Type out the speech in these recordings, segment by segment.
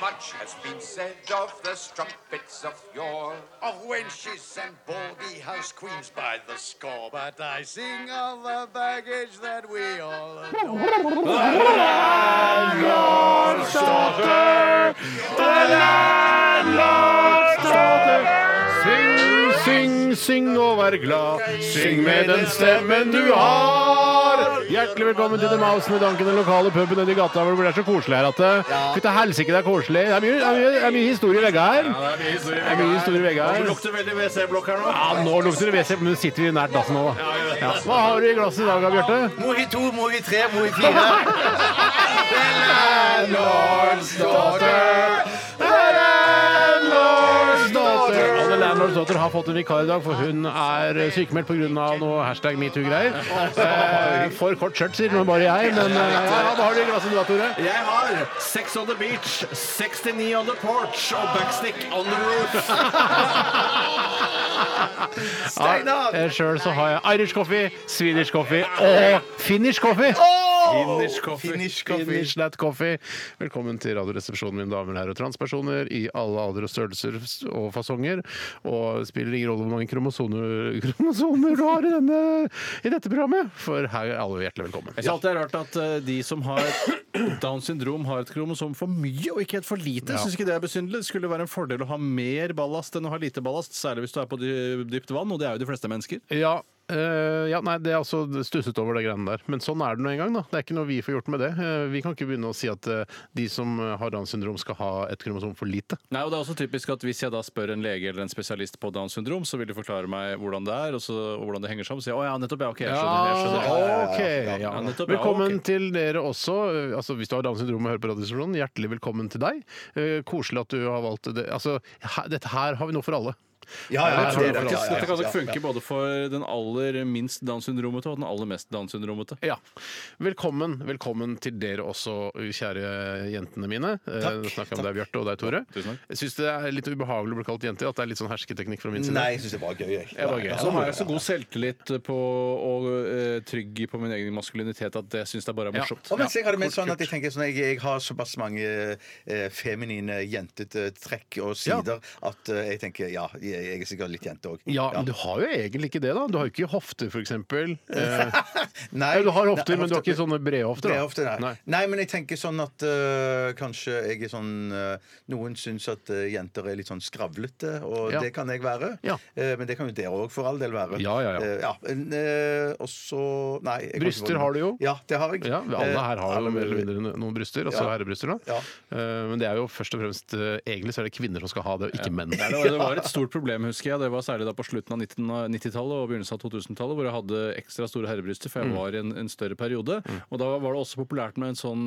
Much has been said of the strumpets of yore, of wenches and baldy house queens by the score. But I sing of the baggage that we all adore. Sing, sing, sing og vær glad. Syng med den stemmen du har. Hjertelig velkommen til The Mouse med Danken, den lokale puben nedi gata hvor det blir så koselig her at det Fytte helsike, det er koselig. Det er mye, det er mye, det er mye historie i veggene her. Det Det er mye historie i veggene her. lukter veldig WC-blokk her nå. Ja, nå lukter det WC, men nå sitter vi nært dassen nå, da. Ja. Hva har du i glasset i dag, Bjarte? Mohi 2, Mohi 3, Mohi 4. The landlord's daughter. Landlords daughter. Alle Landlords daughter har fått en vikar i dag, for hun er eh, sykemeldt pga. noe hashtag metoo-greier. Eh, For kort skjørt, sier hun bare jeg. Men eh, ja, hva har du i glasset du da, Tore? Jeg har Sex on the Beach, 69 on the Porch og Backstick on the Roof. Steinar! Sjøl eh, så har jeg Irish coffee, Swedish coffee og Finnish coffee. Finish coffee. Finnish that coffee. Velkommen til Radioresepsjonen, mine damer og herrer og transpersoner i alle aldre og størrelser og fasonger. Og det spiller ingen rolle hvor mange kromosomer, kromosomer du har i, denne, i dette programmet, for her er alle hjertelig velkommen. Jeg syns alltid det er rart at eh, de som har Downs syndrom, har et kromosom for mye og ikke helt for lite. Jeg Syns ikke det er besynderlig. Det skulle være en fordel å ha mer ballast enn å ha lite ballast, særlig hvis du er på dy- dypt vann, og det er jo de fleste mennesker. Ja, eh, ja, nei, det er altså stusset over det greiene der. Men sånn er det nå en gang, da. Det er ikke noe vi får gjort med det. Eh, vi kan ikke begynne å si at eh, de som har Downs syndrom, skal ha et kromosom for lite. Nei, og det er også typisk at Hvis jeg da spør en lege eller en spesialist på Downs syndrom, så vil de forklare meg hvordan det er, og, så, og hvordan det henger sammen. Så sier jeg å ja, nettopp, ja, ok, jeg skjønner. Jeg skjønner. Ja, ja, ja, ja. Ok, ja. Ja, nettopp, ja, Velkommen ok. til dere også. Eh, Altså, hvis du har Downs syndrom og hører på Radioresepsjonen, hjertelig velkommen til deg. Eh, koselig at du har valgt det. Altså, he- dette her har vi noe for alle. Ja, Jeg ja, tror det er det faktisk- faktisk- Dette kan nok funke både for den aller minst Downs syndromete og den aller mest Downs syndromete. Ja. Velkommen, velkommen til dere også, kjære jentene mine. Takk, Nå snakker jeg om deg, Bjarte, og deg, Tore. Tusen takk. Jeg syns det er litt ubehagelig å bli kalt jente, at det er litt sånn hersketeknikk fra min side. Nei, jeg syns det var gøy. Jeg. sånn Det var gøy. Ja, sånn så har jeg så god selvtillit på, og eh, trygg på min egen maskulinitet at jeg syns det bare er morsomt. Og mens jeg har det mer sånn at jeg tenker sånn, jeg, jeg har såpass mange eh, feminine, jentete trekk og sider at eh, jeg tenker ja, jeg, jeg er sikkert litt jente òg. Ja, men du har jo egentlig ikke det, da. Du har jo ikke hofter, f.eks. Eh, Nei, du har hofter, men du har ikke sånne brede hofter. Brede da. hofter, nei. Nei. Nei. men jeg tenker sånn at eh, kanskje jeg er sånn eh, Noen syns at eh, jenter er litt sånn skravlete, og Ja. det kan jeg være. Ja. Eh, men det kan jo dere òg for all del være. Ja, ja, ja. Eh, ja. men, eh, og så Nei. jeg kan ikke Bryster få det. har du jo. Ja, det har jeg. Eh, Ja, alle her har jo Alle mer eller mulige. mindre noen bryster, altså Ja. herrebryster. da. Ja. Eh, Men det er jo først og fremst eh, egentlig så er det kvinner som skal ha det, og ikke menn. Det var- det var et stort problem, husker jeg. Det var særlig da på slutten av 19 av 90-tallet og begynnelsen av 2000-tallet, hvor jeg hadde ekstra store herrebryster, Mm. for jeg var i en, en større periode. Og da var det også populært med en sånn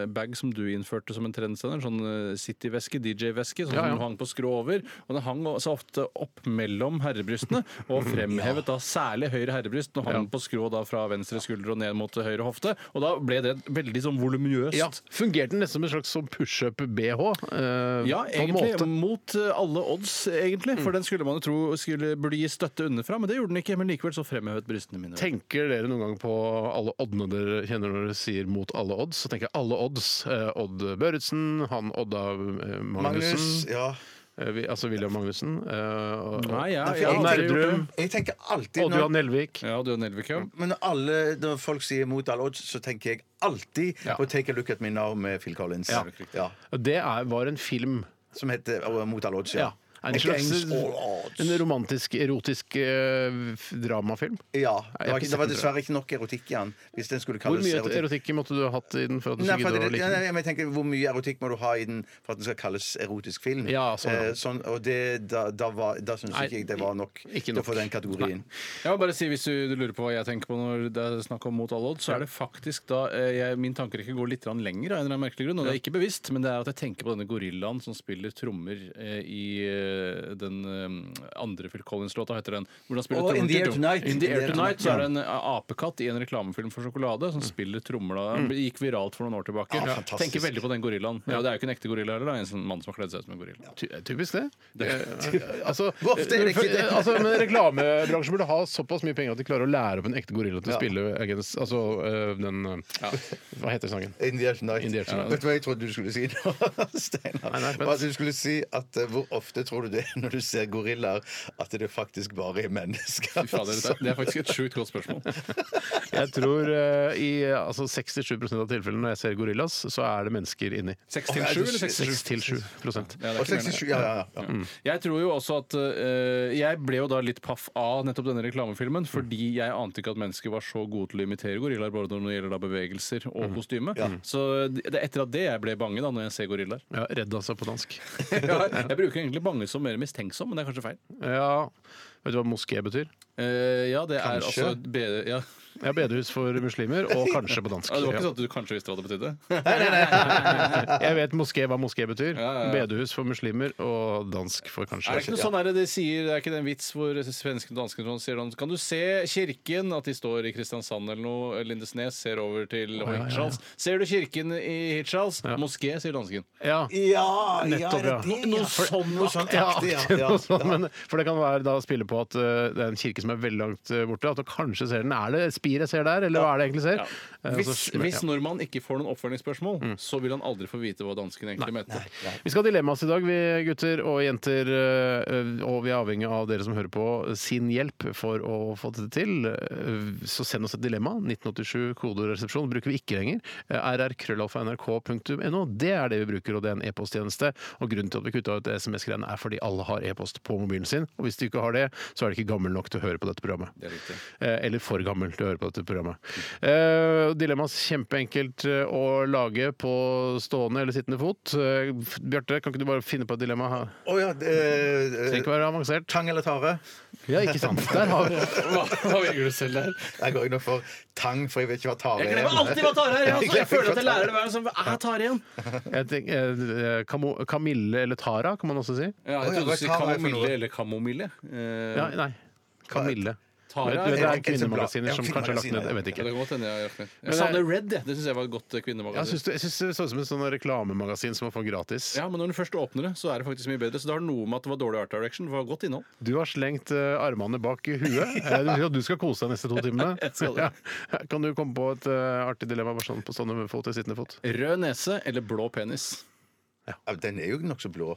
eh, bag som du innførte som en trendsender, en sånn eh, City-veske, DJ-veske, sånn Ja, ja. som hang på skrå over. Og den hang så ofte opp mellom herrebrystene, og fremhevet da særlig høyre herrebryst. Den hang på skrå da fra venstre skulder og ned mot høyre hofte, og da ble det veldig sånn voluminøst. Ja, Fungerte den nesten som en slags sånn pushup-BH? eh, Ja, på en egentlig måte. Mm. mot eh, alle odds, egentlig. For den skulle man jo tro skulle, burde gi støtte underfra, men det gjorde den ikke. Men likevel så fremhevet brystene mine. Tenker dere noen gang på alle oddene dere kjenner når dere sier 'mot alle odds'? Så tenker jeg alle odds. Eh, Odd Børretzen, han Odda eh, Magnus. Magnussen, Ja. eh, vi- altså William Magnussen. eh, og- Nei, jeg, Nei, for jeg, jeg- har aldri gjort det. Nerdrum, Jeg tenker alltid Odd når- Johan Nelvik. Ja, du og Nelvik, ja. Men når, alle, når folk sier 'mot all odds', så tenker jeg alltid Ja. på 'Take a Look at Me Now' med Phil Collins. Ja. Det er, var en film. Som heter uh, 'Mot all odds'. Ja. Ja. En slags Against all odds. en romantisk, erotisk eh, f- dramafilm. Ja. Nei, jeg Det har ikke var, det var sett den, dessverre ikke nok erotikk i den. Hvis den skulle Hvor kalles mye erotikk. erotikk måtte du ha hatt i den for at du Nei, skulle for gidde det, å nei, like den? nei, men jeg tenker, Hvor mye erotikk må du ha i den for at den skal kalles erotisk film? Ja, sånn, ja. Eh, sånn, og det, da, da, var- da syns Nei, ikke jeg det var nok, ikke til nok. å få den kategorien. Jeg må bare si, Hvis du, du lurer på hva jeg tenker på når det er snakk om mot alle odds, så er det faktisk da eh, jeg, min tankerekke går litt grann lenger av en eller annen merkelig grunn. Og det er ikke bevisst, men det er at jeg tenker på denne gorillaen som spiller trommer eh, i eh, eh, den eh, andre Phil Collins-låta, heter den. Hvor han spiller Å, In the Air trommer. Tonight. In the Air Tonight så Ja. Mm. er det en eh, apekatt i en reklamefilm for sjokolade som spiller trommer. da. Den gikk viralt for noen år tilbake. Ja, Ja. fantastisk. Tenker veldig på den gorillaen. Ja, det er jo ikke en ekte gorilla heller, da. En sånn mann som har kledd seg ut som en gorilla. Ty typisk det. Eh, altså, Hvor ofte er det ikke det? altså, men reklamebransjen burde ha såpass mye penger at de klarer å lære opp en ekte gorilla til å spille against, altså, eh, den eh, Hva heter sangen? In the Air Tonight. In the Air Tonight. Vet du hva jeg trodde du skulle si nå, Steinar? Nei, nei, vent. Var at du skulle si at eh, Hvor ofte tror du det er når du ser gorillaer, at det faktisk bare er mennesker? Fy fader, det, er, det er faktisk et sjukt godt spørsmål. Jeg tror eh, i eh, altså 67 av tilfellene når jeg ser gorillas, så er det mennesker inni. 6 til 7 eller 6 til 7? 6-7 prosent. Ja, det er Og ikke mer enn det. 67, ja, ja, ja. Jeg tror jo også at eh, Jeg ble jo da litt paff av nettopp denne reklamefilmen, fordi jeg ante ikke at mennesker var så gode til å imitere gorillaer, bare når det gjelder da bevegelser og kostyme. Så eh, det er etter at det jeg ble bange da, når jeg ser gorillaer. Ja, redd altså på dansk. jeg bruker egentlig bange som mer mistenksom, men det er kanskje feil. Ja, Vet du hva moské betyr? Eh, ja, det er Kanskje. altså be, ja. ja, Ja, Bedehus for muslimer, og kanskje på dansk. Det var ikke Ja. sånn at du kanskje visste hva det betydde? Jeg vet moské hva moské betyr. Ja, ja, ja. Bedehus for muslimer og dansk for kanskje. Er det ikke noe sånn der de sier, det er ikke den vits hvor svenskene og danskene sånn sier sånn Kan du se kirken? At de står i Kristiansand eller noe, Lindesnes ser over til ja, ja, ja. Hirtshals. Ser du kirken i Hirtshals? Moské, sier dansken. Ja. Ja, Nettopp, ja. det, ja. Noe sånt Ja, aktig, ja. akkurat ja. noe sånt, men, for det kan være da å spille på at eh, det er en kirke som er veldig langt eh, borte. At du kanskje ser den. Er det et spir jeg ser der, eller hva er det jeg egentlig ser? Eh, og så Hvis, smell- hvis ja. Mm. nordmann ikke får noen oppfølgingsspørsmål, så vil han aldri få vite hva dansken egentlig mente. Vi skal ha dilemmas i dag, vi gutter og jenter. eh, Og vi er avhengig av dere som hører på, sin hjelp for å få dette til. Eh, Så send oss et dilemma. 1987 kodoresepsjon bruker vi ikke lenger. Eh, rrkrøllalfa.nrk.no. Det er det vi bruker, og det er en e-posttjeneste. Og grunnen til at vi kutta ut SMS-greiene, er fordi alle har e-post på mobilen sin. Og hvis du ikke har det, så er du ikke gammel nok til å høre på dette programmet. Det er riktig. Eh, Eller for gammel til å høre på dette programmet. Eh, Dilemmas kjempeenkelt eh, å lage på stående eller sittende fot. Eh, f- Bjarte, kan ikke du bare finne på et dilemma? her? Å ja, det- eh, Trenger ikke være avansert. Tang eller tare? Ja, ikke sant. Der har vi Hva, hva velger du selv der? Jeg går nå for tang, for jeg vet ikke hva tare Jeg er. glemmer alltid hva Tare er! Jeg, Jeg også. jeg glemmer føler hva at jeg Tare lærer det hver gang. sånn, hva Er Tare igjen? Jeg tenker, eh, Camo- Camille eller Tara, kan man også si. Ja, jeg Å ja, hva trodde du er sa Tara for noe? kamomille eller kamomille. Eh, Ja, nei. Camille. Tara Du vet, Det er- er kvinnemagasiner som kanskje er lagt ned. Jeg vet Ja, ikke. det kan godt hende jeg har gjort det. Men Jeg savner jeg- Red, jeg. det syns jeg var et godt eh, Jeg kvinnemagasin. syns det, jeg synes det så ut som et sånn reklamemagasin som man får gratis. Ja, men når den først åpner det, så er det faktisk mye bedre. Så det har noe med at det var dårlig art direction. Det var godt innhold. Du har slengt eh, armene bak i huet. Eh, Du, du skal kose deg neste to timene. Jeg skal det. Ja. Kan du komme på et eh, artig dilemma bare sånn på stående fot eller sittende fot? Rød nese eller blå penis? Ja, Den er jo nokså blå.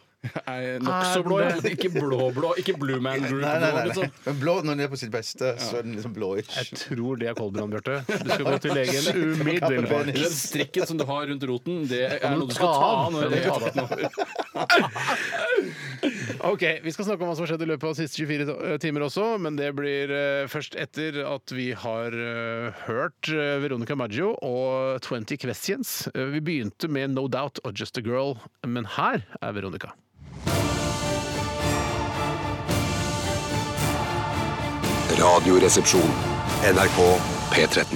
Nokså blå, ja. Ikke blå-blå. Ikke Blue Man Group. Nei, nei, nei, blå, nei. liksom. Men blå når den er på sitt beste, så er den liksom blåish. Jeg tror det er koldbrann, Bjarte. Du skal gå til legen umiddelbart. Den strikken som du har rundt roten, det er noe du skal ta av når Ja, det er Ok, Vi skal snakke om hva som har skjedd i løpet av de siste 24 to- eh, timer også, men det blir eh, først etter at vi har eh, hørt eh, Veronica Maggio og 20 Questions. Eh, vi begynte med No Doubt og Just a Girl, men her er Veronica. Radioresepsjon. NRK P13.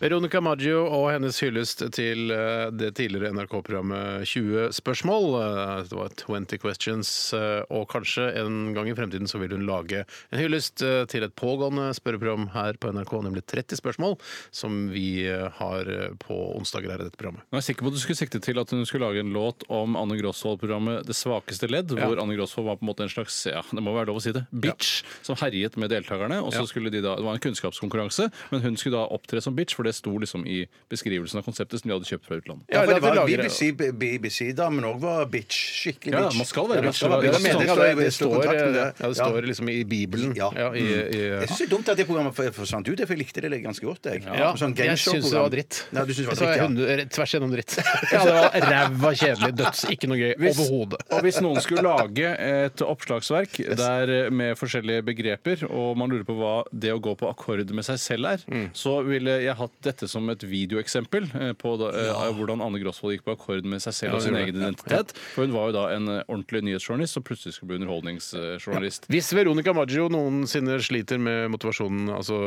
Veronica Maggio og hennes hyllest til eh, det tidligere NRK-programmet 20 spørsmål. Eh, Det var 20 questions, eh, og kanskje en gang i fremtiden så vil hun lage en hyllest eh, til et pågående spørreprogram her på NRK, nemlig 30 spørsmål, som vi eh, har eh, på onsdager her i dette programmet. Nå er jeg sikker på at du skulle sikte til at hun skulle lage en låt om Anne Grosvold-programmet Det svakeste ledd, hvor Anne Grosvold var på en måte en slags ja, det må være lov å si det, bitch som herjet med deltakerne. og så skulle de da, Det var en kunnskapskonkurranse, men hun skulle da opptre som bitch, for det sto liksom i beskrivelsen av konseptet som de hadde kjøpt fra utlandet. Ja, for det eller at var vi lager- BBC, BBC-damen òg var bitch. Skikkelig Ja, bitch. man skal være Ja, man bitch. skal være Ja, Ja, det bitch. det, mener Det står i- det står i står, eh, kontrakten, ja, det Ja. står liksom i Bibelen. Ja. i, i, Jeg syns det er dumt at det programmet for- forsvant ut, for jeg likte det ganske godt. Jeg, Ja, Sånn jeg gameshow-program. syns det var dritt. Ja, du synes Så det var er dritt, ja. hundre- Tvers gjennom dritt. Ja, det var ræva kjedelig. Døds. Ikke noe gøy Hvis- overhodet. Og hvis noen skulle lage et oppslagsverk der eh, Mm. med forskjellige begreper, og man lurer på hva det å gå på akkord med seg selv er, så ville jeg hatt dette som et videoeksempel eh, på da, eh, av hvordan Anne Grosvold gikk på akkord med seg selv og sin hun gjorde egen det. identitet. For hun var jo da en eh, ordentlig nyhetsjournalist som plutselig skulle bli underholdningsjournalist. Hvis Veronica Maggio noensinne sliter med motivasjonen, altså,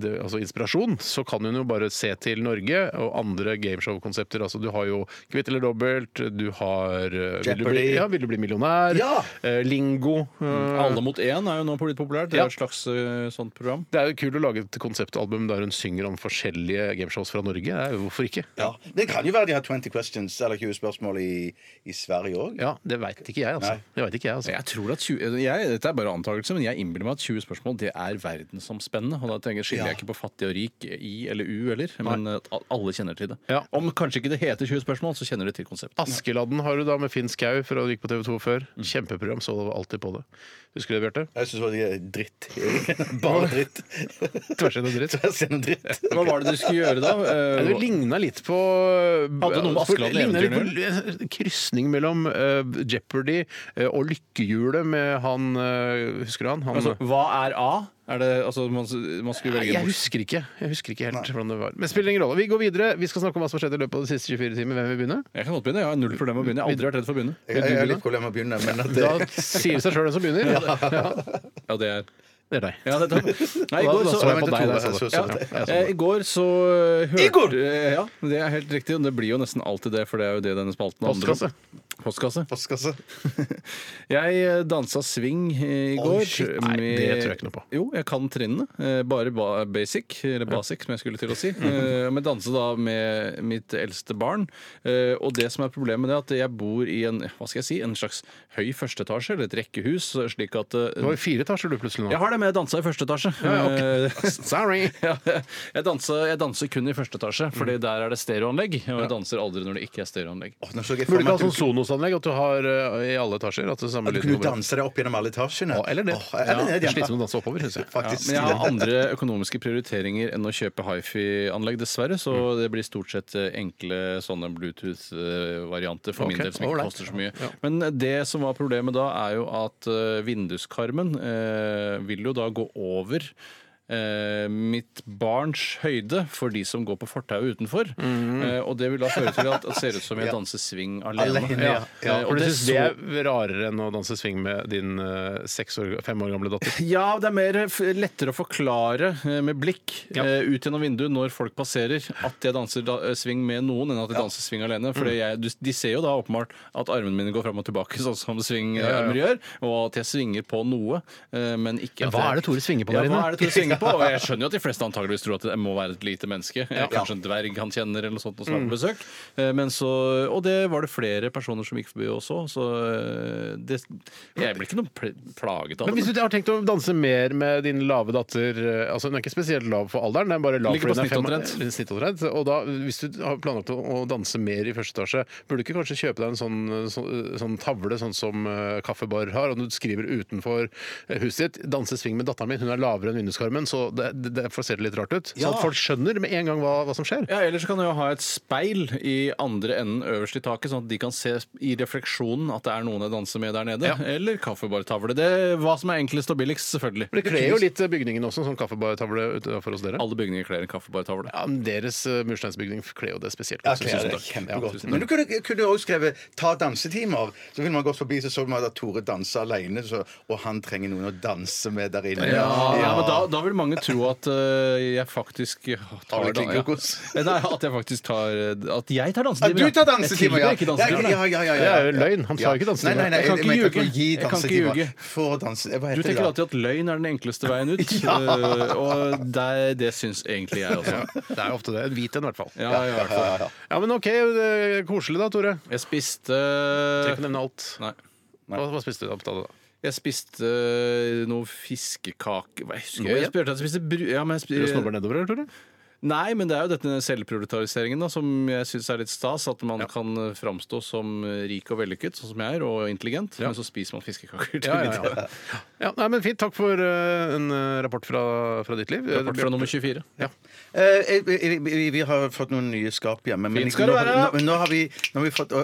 det, altså inspirasjon, så kan hun jo bare se til Norge og andre gameshow-konsepter. Altså, du har jo Kvitt eller dobbelt, du har eh, vil du, bli, Jeopardy. ja, vil du bli millionær? Ja! eh, Lingo. eh, Alle mot én er jo nå blitt populært. Det Ja. er et slags eh, sånt program. Det er jo kult å lage et konseptalbum der hun synger om forskjellige gameshows fra Norge. Det er jo- Hvorfor ikke? Ja. Det kan jo være de har 20 questions eller 20 spørsmål i, i Sverige òg. Ja, Det veit ikke jeg, altså. Nei. Det vet ikke jeg, altså. Jeg tror at 20, jeg, dette er bare antakelse, men jeg innbiller meg at 20 spørsmål det er verdensomspennende. Og da tenker jeg, skiller jeg ikke på fattig og rik, i eller u eller, men at al- alle kjenner til det. Ja. Om kanskje ikke det heter 20 spørsmål, så kjenner de til konseptet. Askeladden har du da med Finn Skau fra du gikk på TV2 før. Kjempeprogram, så alltid på det. Husker du det, Bjarte? Jeg syns det var dritt. Bare dritt. Tvers igjennom dritt. Tvers gjennom dritt. Hva var det du skulle gjøre da? Ja, Eh, Det ligna litt på eh, Hadde noe med Askeladden i Lignet litt på Krysning mellom eh, Jeopardy eh, og Lykkehjulet med han eh, Husker du han? han altså, hva er A? Er det, altså, man, man skulle Nei, velge jeg en bok. husker ikke Jeg husker ikke helt hvordan det var. Men spiller ingen rolle. Vi går videre. Vi skal snakke om hva som har skjedd i løpet av de siste 24 timer. Hvem vil begynne? Jeg kan godt begynne. Jeg har null problem med å begynne. Jeg har aldri vært redd for å begynne. Jeg, jeg har litt problemer med å begynne, men at det, Da sier det seg sjøl hvem som begynner. Ja, det er Det er deg. ja, det er Nei, i Da- går da så, så jeg på Nei, deg, det er da sant. så- så- Ja. så- Eh, I går så eh, hørte Eh, Ja, det er helt riktig. og Det blir jo nesten alltid det, for det er jo det denne spalten handler om. Postkasse. Postkasse. postkasse. Jeg eh, dansa swing eh, i går. shit. Nei, det tror jeg ikke noe på. Jo, jeg kan trinnene. eh, Bare ba basic, eller basic, som jeg skulle til å si. Mhm. Eh, Men danse da med mitt eldste barn. Eh, Og det som er problemet med det, er at jeg bor i en hva skal jeg si, en slags høy førsteetasje, eller et rekkehus, slik at eh, Det var jo fire etasjer du plutselig nå. Jeg har det med å danse i første etasje. Ja, ok. Eh, Sorry. Mhm. ja, jeg, danser, jeg danser kun i første etasje, Fordi der er det stereoanlegg. Og jeg danser aldri når det ikke er stereoanlegg. Åh, nå så jeg for Burde ikke meg ha at du- sånn Sonos-anlegg at du har eh, i alle etasjer? At det samme at du lyden kunne kommer opp? danse deg opp gjennom alle etasjene. Ja, eller det. Åh, eller Ja, det, det er ja. slitsomt å danse oppover, syns jeg. Faktisk. Men jeg har andre økonomiske prioriteringer enn å kjøpe hifi-anlegg, dessverre. Så Mm. det blir stort sett eh, enkle sånne Bluetooth-varianter for Ok, min del, som ikke ålreit. koster så mye. Men det som var problemet da, er jo at eh, vinduskarmen eh, vil jo da gå over eh, mitt barns høyde for de som går på fortauet utenfor. Mm. Eh, og det vil da føre til at det ser ut som jeg danser swing alene. Alene, ja. Ja, Eh, For og du det synes så det er rarere enn å danse swing med din eh, seks år, fem år gamle datter? Ja, det er mer eh, f- lettere å forklare eh, med blikk Ja. eh, ut gjennom vinduet når folk passerer at jeg danser da, eh, swing med noen, enn at jeg danser swing alene. For Mm. jeg, du, de ser jo da åpenbart at armene mine går fram og tilbake, sånn som swingarmer gjør, og at jeg svinger på noe, eh, men ikke at Hva jeg- er det Tore svinger på ja, der hva inne? er det Tore svinger på? Og jeg skjønner jo at de fleste antageligvis tror at det må være et lite menneske. Eh, Kanskje en dverg han kjenner, eller noe sånt, og som Mm. er på besøk. Eh, Men så, og det var det flere personer som gikk forbi også, så eh, det, jeg ble ikke noe pl- plaget av det. Men hvis du har tenkt å danse mer med din lave datter eh, altså Hun er ikke spesielt lav for alderen, den er bare lav Ligger på fordi hun er snittomtrent. fem- eh, snittomtrent. Og da, hvis du har planlagt å å danse mer i første etasje, burde du ikke kanskje kjøpe deg en sånn, sånn, sånn tavle sånn som eh, Kaffebar har, og du skriver utenfor eh, huset ditt 'Danse swing med datteren min', hun er lavere enn vinduskarmen, så det, det, derfor ser det litt rart ut. Sånn at folk skjønner med en gang hva, hva som skjer. Ja, Ellers kan du jo ha et speil i andre enden øverst i taket, sånn at de kan se i refleksjonen at det er noen jeg danser med der nede. Eller kaffebartavle. Det er hva som er enklest og billigst, selvfølgelig. Men det kler jo litt bygningen også, sånn kaffebartavle utenfor hos dere. Alle bygninger kler en kaffebartavle. Ja, men Deres eh, mursteinsbygning kler jo det spesielt Ja, godt. kler synes det jeg. kjempegodt. Ja, Men du kunne, kunne også skrevet 'ta dansetimer'. Så ville man gått forbi så så man at Tore danser alene, så, og han trenger noen å danse med der inne. Ja, men da, da vil mange tro at eh, jeg faktisk tar Har du da- ja. Eh, klinkekokos? Nei, at jeg faktisk tar eh, At jeg tar Ja, dansetimer. du tar ja. dansetimer, ja! Jeg tilbyr ikke dansetimer. ja, ja, ja, ja, Det ja. er jo løgn. Han sa jo ikke dansetimer. Nei, nei, nei, Jeg kan ikke men ljuge. kan gi Jeg kan ikke dansetimer. ljuge. For danse... Hva Du heter tenker det? da? alltid at løgn er den enkleste veien ut, eh, og det, det syns egentlig jeg også. Det er jo ofte det. En hvit en, i hvert fall. Ja, i hvert fall. Ja, men OK. det er Koselig, da, Tore. Jeg spiste Trenger ikke nevne alt. Nei. Hva, hva spiste du da på stedet, da? Jeg spiste øh, noe fiskekake Hva jeg husker Nå jeg? igjen? Jeg spurte at jeg spiste bru... Ja, men jeg Du spi- snobber nedover, eller, Tore? Nei, men det er jo dette selvproletariseringen da, som jeg syns er litt stas. At man kan øh, framstå som øh, rik og vellykket, sånn som jeg er, og intelligent. Men så spiser man fiskekaker til Ja, ja, middag. ja. Ja, nei, men fint. Takk for eh, en eh, rapport fra, fra ditt liv. Rapport fra nummer 24. Ja. Eh, eh, vi, vi, vi har fått noen nye skap hjemme. Men Fint skal nå, det være, da. nå, nå har vi, nå har vi fått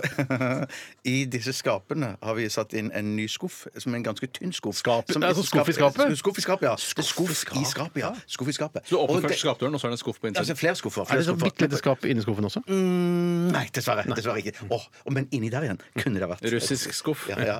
I disse skapene har vi satt inn en ny skuff, som er en ganske tynn skuff. Skap? Som, Det er sånn skuff i skapet? Skuff i skapet, ja. Skuff i skapet, ja. Skuff i skapet. Så du Og åpner det- først skapdøren, og så er det en skuff på Altså innsiden. flere skuffer. Er Flere det sånn bitte lite skuffer. skap inni skuffen også? Mm, Nei, dessverre. dessverre ikke. Åh, men inni der igjen kunne det vært. Russisk skuff. Ja, ja.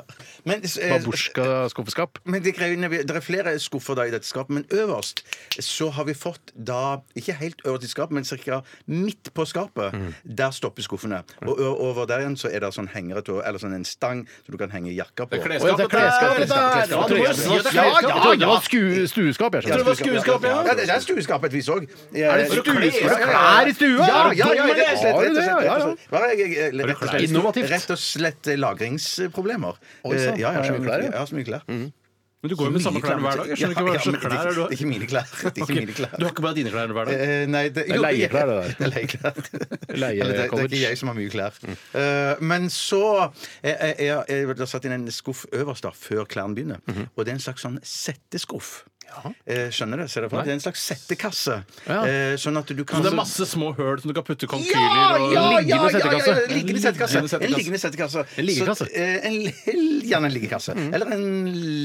Men, eh, Babusjka-skuffeskap? men det, greiene, vi- det er flere skuffer da i dette skapet, men øverst så har vi fått da Ikke helt øverst i skapet, men ca. midt på skapet. Mm. Der stopper skuffene. Og ø- over der igjen så er det sånn hengere til å- eller sånn en stang som du kan henge jakka på. Det er Å ja, det er klesskapet klesskap. der! det er Ja, klesskap. du må jo Jeg si at det er trodde klesskap! det var sku- stueskap. Jeg skjønner. det var skueskap, ja. det er stueskap et vis òg. Er det stueskap? Er det stue? Ja, ja, ja, Dommer, rett og slett. har du Rett og det? slett, Ja, ja. rett og slett. Hva er jeg- jeg- rett og slett- Innovativt. Rett og slett eh, lagringsproblemer. Oi, sann. Eh, Ja, ja, Er det så mye ja, klær, ja? jeg har så mye klær. Men du Mm. går jo med samme klær hver dag. Jeg skjønner ikke hva Ja, ja, slags men klær er det du er ikke mine klær. Det er ikke mine klær. Du har ikke bare dine klær hver dag? Eh, nei, det, er jo, jeg- leieklær, det der. Det er leieklær. Leie- Eller det, det er college. ikke jeg som har mye klær. Eh, men så jeg, jeg, jeg, jeg har satt inn en skuff øverst da, før klærne begynner. Og det er en slags sånn setteskuff. Eh, skjønner du? Ser du for deg? Det er en slags settekasse. Ja. Eh, sånn at du kan Men det er masse små høl som du kan ja, putte konkyler og ja, ja, ja, Liggende ja, settekasse. ja, liggende settekasse. Liggende settekasse. En liggende settekasse. En liggekasse. Så, eh, en, li- gjerne en liggekasse. Eller en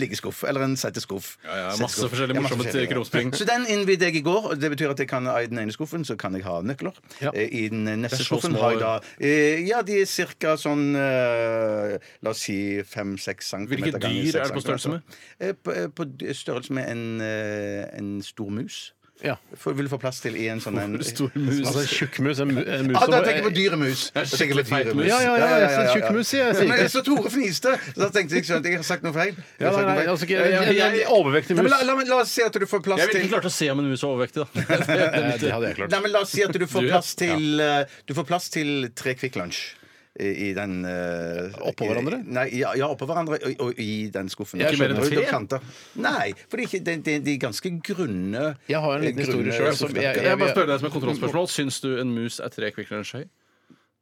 liggeskuff. Eller en setteskuff. Mm. Ja, ja, masse Setteskuff. forskjellige Ja, masse morsomme forskjellige. krumspring. Så den innvidde jeg i går. og Det betyr at jeg kan i den ene skuffen så kan jeg ha nøkler. Ja. Eh, I den neste så skuffen små. har jeg da eh, Ja, de er ca. sånn eh, La oss si fem-seks centimeter. Hvilke ganger dyr seks er det på størrelse med? centimeter. Eh, På, eh, på d- størrelse med en, eh, en stor mus. Ja. For, vil du få plass til i en sånn en Stor mus. Altså, tjukkmus en mu- en mus ja, da som- tenker jeg på dyremus. Ja, Da tenker jeg på skikkelig feit dyremus. mus. Ja, ja, ja, jeg sier tjukkmus, sier jeg. Men jeg så Tore fniste, så da tenkte jeg sånn at jeg har sagt noe feil. Jeg Ja, nei, har sagt noe nei, feil. altså, ikke- en- en- en overvektig Nei, men mus. la, la, meg- la oss si at du får plass Jeg til ville ikke klart å se om en mus var overvektig, da. Det er Eh, litt- Det hadde jeg klart. Nei, men la oss si at du får Du, ja. plass til eh, Du får plass til tre Kvikk Lunsj. I i den eh, Oppå i- hverandre? Nei, ja, ja oppå hverandre og, og i den skuffen. Ikke mer enn Og- og tre? kanter. Nei, for det er ikke, de, de, de er ganske grunne Jeg har en liten historie grunne selv, som sofaer. jeg- Kan jeg bare spørre deg som et kontrollspørsmål? Syns du en mus er tre kvikkere enn en skje?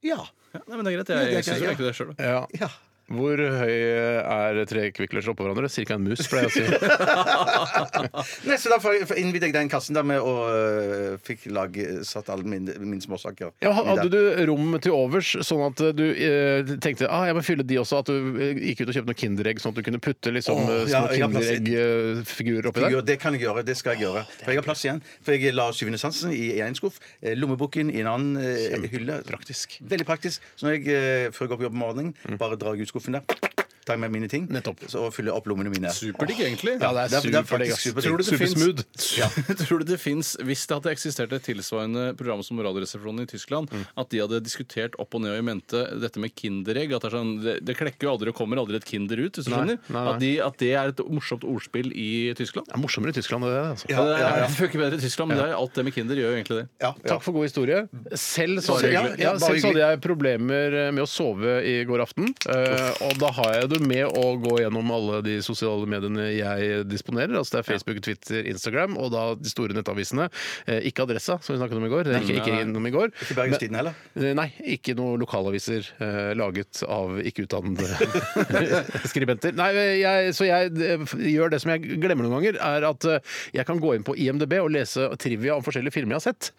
Ja. Ja, nei, men det er greit. Ja, det Jeg, er jeg syns greit, jo ja. egentlig det sjøl. Ja. ja. Hvor høy er tre kvikklers oppå hverandre? Cirka en mus, pleier jeg å si. Nei, så da får jeg- får innvider jeg den kassen der med å øh, fikk lag, satt alle mine, mine småsaker. Ja, i den. hadde du rom til overs, sånn at eh, du eh, tenkte ah, jeg må fylle de også? At du eh, gikk ut og kjøpte noen Kinderegg, sånn at du kunne putte liksom, Åh, eh, ja, små jeg har plass i- Kinderegg-figurer oppi der? Jo, det kan jeg gjøre. Det skal jeg gjøre. For jeg har plass igjen. For jeg la syvende sansen i én skuff, eh, lommeboken i en annen eh, hylle. Praktisk. Mm. Veldig praktisk. Så når jeg eh, før jeg går på jobb om morgenen, bare drar jeg ut skuffen der, tar med mine ting Nettopp. Så, og fyller opp lommene mine. Superdigg, egentlig. Ja, det er Det er- det er superdigg, faktisk ass. superdigg. Tror du det finnes- Supersmooth. Tror du det finnes, Hvis det hadde eksistert et tilsvarende program som Radioresepsjonen i Tyskland, Mm. at de hadde diskutert opp og ned og i mente dette med Kinderegg at Det, er sånn, det, det klekker jo aldri og kommer aldri et Kinder ut, hvis du Nei, skjønner? nei, nei. At, de, at det er et morsomt ordspill i Tyskland? Det er morsommere i Tyskland. Det, er det, altså. Ja, det, er, ja, ja. det funker bedre i Tyskland, men det er, alt det med Kinder gjør jo egentlig det. Ja, ja. Takk for god historie. Selv, så, Bare ja, hyggelig. ja, selv Bare så hyggelig. hadde jeg problemer med å sove i går aften. eh, og da har jeg det med å gå gjennom alle de sosiale mediene jeg disponerer. Altså det er Facebook, Twitter, Instagram og da de store nettavisene. Eh, ikke Adressa, som vi snakket om i går. Det gikk ikke innom i går. Ikke Bergenstiden heller. Men- Eh, Nei, ikke noen lokalaviser eh, laget av ikke-utdannede skribenter. Nei, jeg, så jeg eh, gjør det som jeg glemmer noen ganger, er at eh, jeg kan gå inn på IMDb og lese trivia om forskjellige filmer jeg har sett.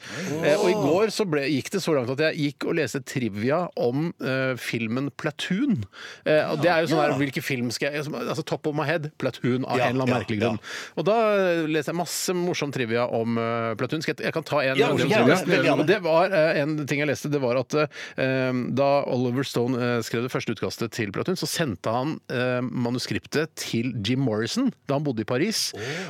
Eh, Og i går så ble, gikk det så langt at jeg gikk og leste trivia om eh, filmen Platoon. Eh, og det er jo sånn der, hvilken film skal jeg Altså top of my head, Platoon av Ja, en eller annen ja, merkelig ja. grunn. Og da eh, leser jeg masse morsom trivia om eh, Platoon. Skal jeg, jeg kan ta en Ja, morsom gjerne, trivia. veldig gjerne. Og det var eh, en ting jeg leste, det var at eh, da Oliver Stone eh, skrev det første utkastet til Platoon, så sendte han eh, manuskriptet til Jim Morrison da han bodde i Paris,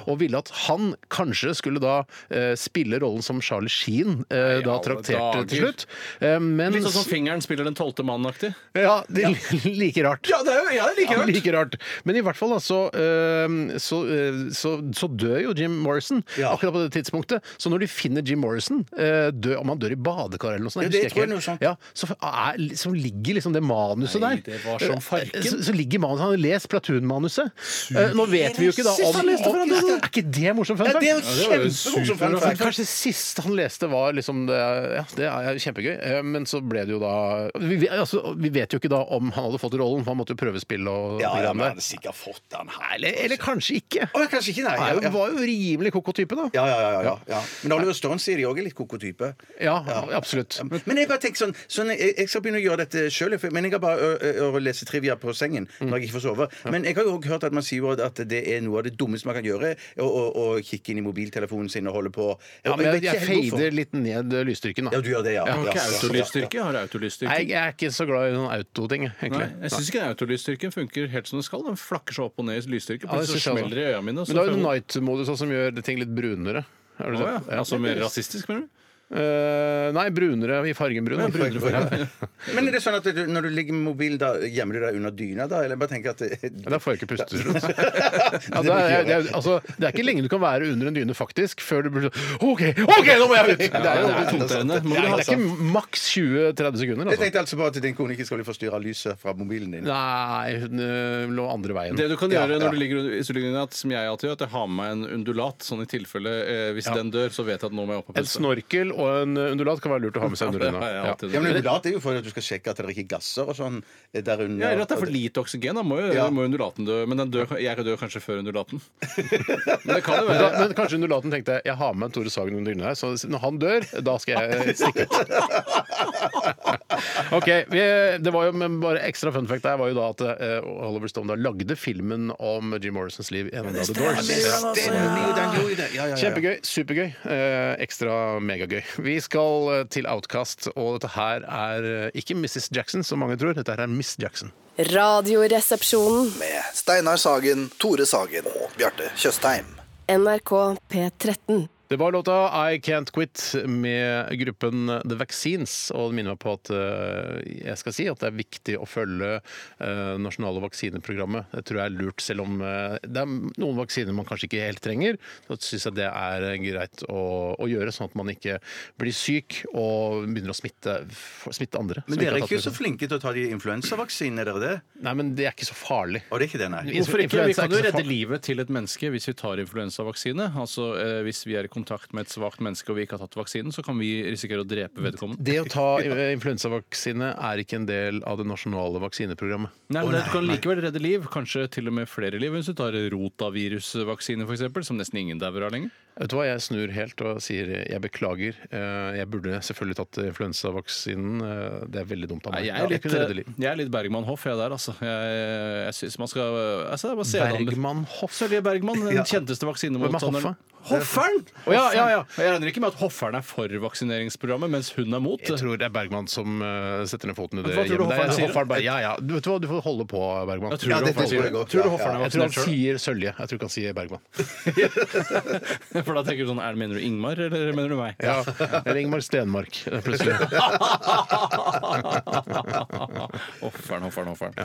og ville at han kanskje skulle da eh, spille rollen som Charlie Sheen eh, da alle trakterte til dager. slutt. Eh, men Litt sånn som fingeren spiller den tolvte mannen-aktig. Ja, det er like rart. Ja, det er jo Ja, men like rart. Men i hvert fall da, så, eh, så, eh, så, så dør jo Jim Morrison Ja. akkurat på det tidspunktet. Så når de finner Jim Morrison, eh, dø, om han dør i badekar eller noe sånt, Ja, jeg det husker tror jeg ikke noe sånt. helt. ja, så, er, så ligger liksom det manuset Nei, der. Øh, det var som farken. Så, så ligger manuset, Han har lest Platoon-manuset. Eh, nå vet vi jo ikke da om, om Er ikke det morsomt? fun Ja, fact? det er jo var jo kjempemorsomt fun Men fact. Kanskje det siste han leste var liksom det, Ja, det er eh, altså, kjempegøy. Eh, Men så ble det jo da vi, vet- altså, vi vet jo ikke da om han hadde fått rollen, for han måtte jo prøvespill spill og Ja, ja, men program han der. hadde sikkert fått den her. Eller, eller kanskje ikke. Å, kanskje ikke, nei. Han Ja, ja. var jo rimelig koko-type, da. Ja, ja, ja, ja, ja. Men Oliver Stone sier de òg er litt koko-type. Ja, absolutt. Men jeg bare tenker sånn, sånn jeg, jeg skal begynne å gjøre dette sjøl. Men jeg har bare ø, ø, å lese trivia på sengen Mm. når jeg ikke får sove. Men jeg har jo også hørt at man sier jo at det er noe av det dummeste man kan gjøre. Å å- å kikke inn i mobiltelefonen sin og holde på. Ja, men jeg, vet jeg ikke helt hvorfor. fader litt ned eh, lysstyrken, Ja, da. du gjør det, ja. Har ja, ikke ja, ja, autolysstyrke? Har Altså, Nei, autolysstyrke? jeg er ikke så glad i sånne autoting, egentlig. Nei, jeg syns ikke den autolysstyrken funker helt som den skal. Den flakker seg opp og ned i lysstyrke. Ja, det Plutselig synes jeg også. smeller det i øya mine. og Men da Så er det får jeg- night-modus også, som gjør ting litt brunere. Har du Å, ja. sett? Ja. Altså mer rasistisk, mener du? Eh, nei, brunere i fargen brun. brunere farge. Ja. ja. Men er det sånn at du, når du ligger med mobilen, da gjemmer du deg under dyna, da? Eller jeg bare tenker at Men Da får jeg ikke puste. tror jeg. Ja, det, er, det, er, altså, det er ikke lenge du kan være under en dyne, faktisk, før du blir sånn OK, ok, nå må jeg ut! Det er, jo, det er tungtrende. Må det du er, ha det er ikke maks 20-30 sekunder. Jeg Altså. tenkte altså på at din kone ikke skal bli forstyrra av lyset fra mobilen din. Nei, hun øh, lå andre veien. Det du kan Ja, gjøre ja. når du ligger under- i stillingen, at, som jeg alltid gjør, at jeg har med meg en undulat, sånn i tilfelle eh, hvis den dør, så vet jeg at nå må jeg opp og En puste. snorkel og en undulat kan være lurt å ha med seg under Ja, dyna. ja, Altså. Ja. alltid det. Ja, men Undulat er jo for at du skal sjekke at det er ikke gasser og sånn eh, der under. Ja, eller at det er for lite oksygen. Da må jo, Ja. må jo undulaten dø. Men den dør, jeg dør kanskje før undulaten. Men det kan jo Men, da, være men kanskje undulaten tenkte jeg har med en Tore Sagen under dyna her, så når han dør, da skal jeg eh, stikke ut. OK. Vi, det var jo men bare ekstra fun fact der var jo da at eh, Oliver Stone da lagde filmen om Jim Morrisons liv i en av The Doors. Ja. Kjempegøy. Supergøy. Eh, ekstra megagøy. Vi skal eh, til Outcast, og dette her er eh, ikke Mrs. Jackson, som mange tror. Dette her er Miss Jackson. Radioresepsjonen. med Steinar Sagen, Tore Sagen og Bjarte Tjøstheim. NRK P13. Det var låta I Can't Quit med gruppen The Vaccines. Og det minner meg på at eh, jeg skal si at det er viktig å følge eh, nasjonale vaksineprogrammet. Det tror jeg er lurt, selv om eh, det er noen vaksiner man kanskje ikke helt trenger. Så syns jeg det er eh, greit å, å gjøre, sånn at man ikke blir syk og begynner å smitte, f- smitte andre. som Men dere har er tatt ikke så det. flinke til å ta de influensavaksinene, er dere det? Nei, men det er ikke så farlig. Og det er ikke det, nei? Hvorfor ikke? Vi Influensa er kan jo ikke så redde far- livet til et menneske hvis vi tar influensavaksine. Altså eh, Hvis vi er i kontakt med et svakt menneske og vi ikke har tatt vaksinen, så kan vi risikere å drepe vedkommende. Det å ta eh, influensavaksine er ikke en del av det nasjonale vaksineprogrammet. Nei, men Du kan likevel redde liv, kanskje til og med flere liv. Hvis du tar rotavirusvaksine, f.eks., som nesten ingen dauer av lenger. Vet du hva, Jeg snur helt og sier jeg beklager. Eh, Jeg burde selvfølgelig tatt influensavaksinen. Eh, Det er veldig dumt av Nei, meg. jeg, er litt, eh, kunne redde liv. jeg er litt Bergman Hoff, jeg der, altså. Jeg, jeg synes man skal altså, jeg bare ser an- Bergman Hoff. Sølje Bergman, den Ja. kjenteste Hvem er vaksinemotstanderen. Hoffa? Hofferen! Å, ja, ja, ja. Jeg regner ikke med at hofferen er for vaksineringsprogrammet, mens hun er mot. Jeg tror det er Bergman som eh, setter ned foten i det Hva tror du hjemmet der. Hoffmann sier? Hoffmann bare, ja, ja. Du vet hva, du får holde på, Bergman. Jeg tror Ja, det Hoffmann tror jeg sier. godt, Tror du ja, Hoffmann ja. er vaksinert Jeg tror han selv? Jeg tror han sier Sølje. Jeg tror ikke han sier Bergman. For da tenker du sånn, er det Mener du Ingmar, eller mener du meg? Ja, Eller Ingmar Stenmark, eh, plutselig. hofferen, hofferen, hofferen.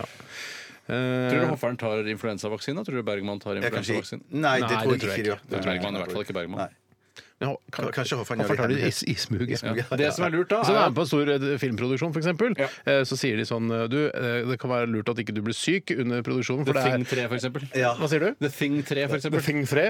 Tror du hofferen tar influensavaksine? Tror du Bergman tar Jeg kan si- influensavaksine? Nei, det Nei, tror det tror jeg jeg ikke de gjør. ikke. Det tror jeg Bergman, i hvert fall ikke Bergman. Nei. Men ho- kan- Kanskje Hoffmann gjør Hoffmann tar det. det i is- ismug. Ja. Det som er lurt, da, Så når du er er med på en stor eh, filmproduksjon, for eksempel, eh, så sier de sånn eh, Du, eh, det kan være lurt at ikke du blir syk under produksjonen, for The Thing det er 3, for eksempel. Ja. Hva sier du? The Thing 3, for The eksempel. Thing 3,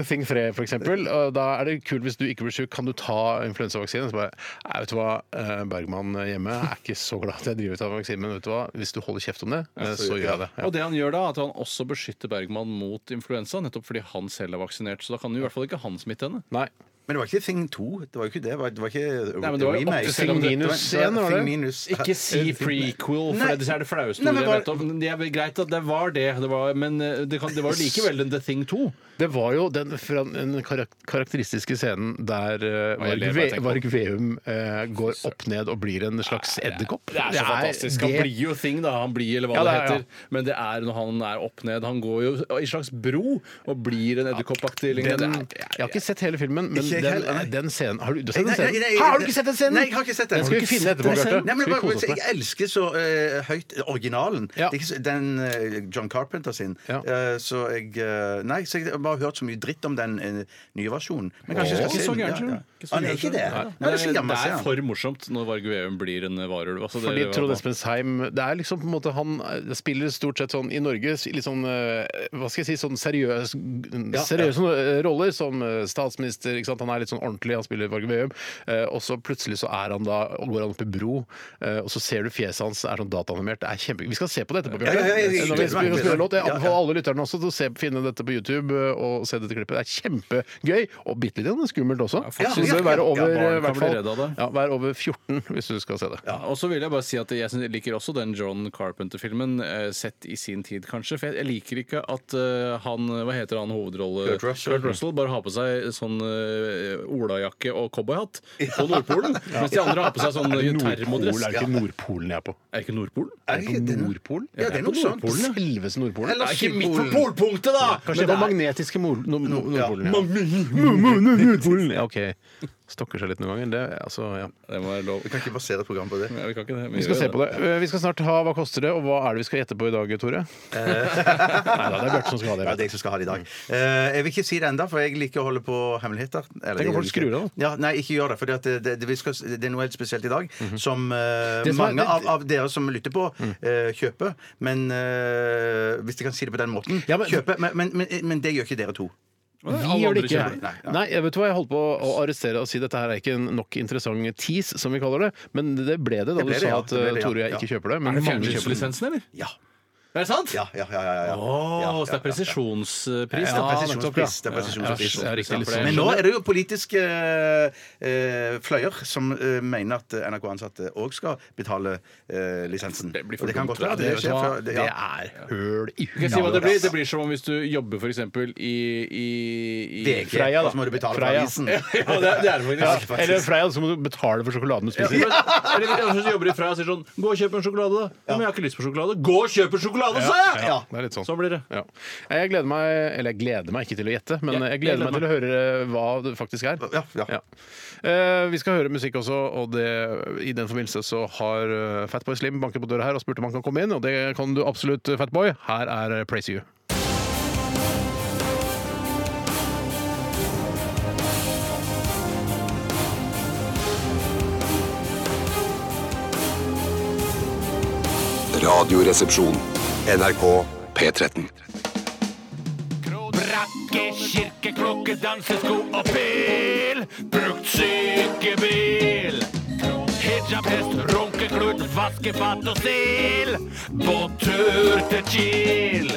The Thing 3 for eksempel. Og da er det kult hvis du ikke blir syk. Kan du ta influensavaksinen? Så bare Nei, vet du hva, eh, Bergman hjemme er ikke så glad at jeg driver og tar vaksine, men vet du hva, hvis du holder kjeft om det, eh, så gjør jeg det. Ja. Og det han gjør da, er at han også beskytter Bergman mot influensa, nettopp fordi han selv er vaksinert. Så da kan jo i hvert fall ikke han smitte henne. Nei. Men det var ikke Thing 2. Det var jo ikke det. Det var, det var ikke Nei, men det var jo remake. opp til Thing selv om det- minus igjen, var det? Thing minus. Ikke si prequel, for Nei. det er det flaueste Nei, men ordet jeg bare- vet om. Det er vel greit at det var det, det var, men eh, det, kan, det var jo likevel en The Thing 2. Det var jo den, fra den karak karakteristiske scenen der eh, jeg Varg, ler bare jeg Ve tenker på Varg Veum eh, går opp ned og blir en slags edderkopp. Det er så fantastisk. Han det- blir jo Thing, da. Han blir, eller Ja, hva det, det er, ja. heter. Men det er når han er opp ned. Han går jo i slags bro og blir en edderkoppaktig lignende. Den, jeg har ikke sett hele filmen, men Ikke jeg den, heller, nei. den scenen Har du, du har Nei, sett den nei, nei, nei, scenen? nei, Har du ikke sett den scenen? Nei, jeg har ikke sett den. Den skal Har du vi ikke finne etterpå, sett den Bjarte. Nei, men Skal vi bare, kose oss jeg med. elsker så eh, høyt originalen. Ja. Det er ikke så- Den eh, John Carpenter sin. Ja. Eh, så jeg eh, Nei, så jeg har bare hørt så mye dritt om den eh, nye versjonen. Men kanskje jeg skal Ikke se så den. gæren, tror Ja, du? ja. Ikke så Han er gæren, ikke tror det. du? Nei, Men det er så det gammel å se er han. for morsomt når Varg Veum blir en varulv. Altså, det- Fordi Trond Espen Seim Det er liksom på en måte Han eh, spiller stort sett sånn i Norge litt sånn mm, eh, Hva skal jeg si Sånn seriøs, seriøse roller som eh, statsminister. Ikke sant? han er litt sånn ordentlig, han spiller i Varg Veum. Eh, Og så plutselig så er han da, og går han opp i bro, eh, og så ser du fjeset hans er sånn dataanimert. Det er kjempe... Vi skal se på det etterpå, Bjarte. Ja, ja, ja, ja, ja. Når vi spiller, spiller låt. Jeg anbefaler alle lytterne også til å se, finne dette på YouTube eh, og se dette klippet. Det er kjempegøy, og bitte litt skummelt også. Ja, Så du bør ja, være ja. over, eh, Ja, barn i hvert kan bli fall, redd av det. ja, vær over 14 hvis du skal se det. Ja, og så vil jeg bare si at jeg syns- liker også den John Carpenter-filmen, eh, sett i sin tid, kanskje. For jeg, jeg liker ikke at eh, han Hva heter han hovedrolle... Kurt Russell. bare har på seg sånn eh, olajakke og cowboyhatt på Nordpolen. Mens de andre har på seg sånn Nordpolen termodress. er det ikke Nordpolen jeg er på. Er det ikke Nordpolen? Er det ikke På den- Nordpolen? Ja, det er noe sånt. Nordpolen, ja. Selveste Nordpolen. Eller Det er Sydpolen. polpunktet, da! Kanskje det var det magnetiske mor no no ja. Nordpolen. Ja. Mo- mo- no- Nordpolen! Ja, OK. Stokker seg litt noen ganger. Det, altså, ja. Det må være lov. Vi kan ikke basere et program på det. Ja, vi kan ikke det. men Vi skal gjør se på det. Eh, Vi skal snart ha Hva koster det, og hva er det vi skal gjette på i dag, Tore? Nei da, det er Mm. Bjarte som skal ha det. Ja, vet det er jeg som skal ha det i dag. Eh, jeg vil ikke si det ennå, for jeg liker å holde på hemmeligheter. Eller, Tenk om jeg folk skrur av, Ja, nei, ikke gjør det, for det, det, det, vi skal- det er noe helt spesielt i dag som eh, Mhm. Det Mm. som er- mange av, av dere som lytter på, eh, kjøper. Men eh, hvis jeg kan si det på den måten Ja, men- kjøper, men, men, men, men det gjør ikke dere to. Vi Alle gjør det andre ikke. kjøper. Nei, nei, jeg vet du hva, jeg holdt på å arrestere og si dette her er ikke en nok interessant tease, som vi kaller det. Men det ble det da Det ble du det, sa ja. at Det ble eh, det, ja. Tore og jeg ikke Ja. kjøper det. Er Men det mange kjøper det. fjernsynslisensen, eller? Ja. Er det sant? Ja, ja, ja. ja, ja. Åh, ja, så det er presisjonspris, Ja, da. nettopp, ja. presisjonspris. Det er presisjonspris. Ja, riktig, litt sånn. Men nå er det jo politiske eh, fløyer som eh, mener at NRK-ansatte òg skal betale eh, lisensen. Det blir for Og det kan dumt. godt være. at Det, vet du skjer hva? før- det, ja. Det er høl i Skal jeg si huet. hva det blir? Det blir som om hvis du jobber f.eks. i, i, i VG, Freia, da. og så må du betale Freia. for avisen. Ja, det er det er det faktisk. Ja, eller Freia, så må du betale for sjokoladen du spiser. Eller eller kanskje du jobber i Freia og sier sånn Gå og kjøp en sjokolade, da. Ja. Men jeg har ikke lyst på sjokolade. Gå og kjøp en sjokolade, sa jeg! Ja, det er litt sånn. Sånn blir det. Ja. Jeg gleder meg Eller jeg gleder meg ikke til å gjette, men Ja, jeg gleder meg til å høre eh, hva det faktisk er. Ja, ja. Eh, vi skal høre musikk også, og det, i den forbindelse så har eh, Fatboy Slim banket på døra her og spurt om han kan komme inn, og det kan du absolutt, eh, Fatboy. Her er eh, Praise You. Radioresepsjon. NRK P13. Brakke, kirke, klokke, dansesko og pil. Brukt sykebil. Hijabhest, runkeklut, vaskefat og stil. På tur til Kiel.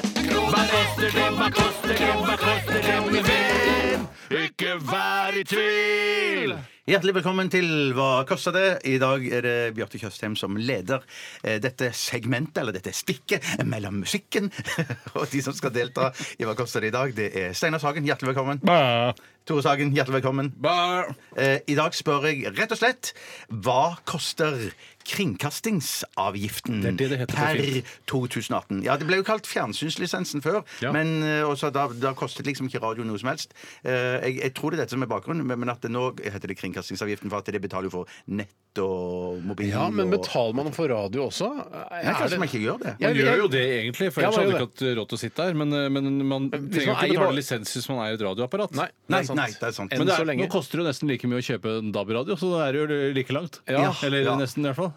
Hva koster det, hva koster det, hva koster det, min venn? Ikke vær i tvil! Hjertelig velkommen til Hva koster det? I dag er det Bjarte Tjøstheim som leder eh, dette segmentet, eller dette stikket, mellom musikken og de som skal delta i Hva koster det i dag. Det er Steinar Sagen, hjertelig velkommen. Tore Sagen, hjertelig velkommen. Eh, I dag spør jeg rett og slett hva koster kringkastingsavgiften Det er det det heter på per fint. 2018? Ja, det ble jo kalt fjernsynslisensen før, Ja. men eh, også, da, da kostet liksom ikke radio noe som helst. Eh, Jeg, jeg tror det er dette som er bakgrunnen, men- men at det nå heter det kringkastingsavgiften for at det betaler jo for nett og mobil. Ja, men og- betaler man for radio også? Nei, kanskje man ikke gjør det. Ja, Man vi- gjør jo det egentlig, for Ja, ellers man gjør hadde du ikke hatt råd til å sitte her. Men, eh, men man hvis trenger man ikke eier betale bare- lisens hvis man eier et radioapparat. Nei, Nei, sant. nei, det er sant. Enn Men det så er, nå lenge. koster det jo nesten like mye å kjøpe en DAB-radio, så da er det jo like langt. Ja. Eller Ja. nesten, i hvert fall.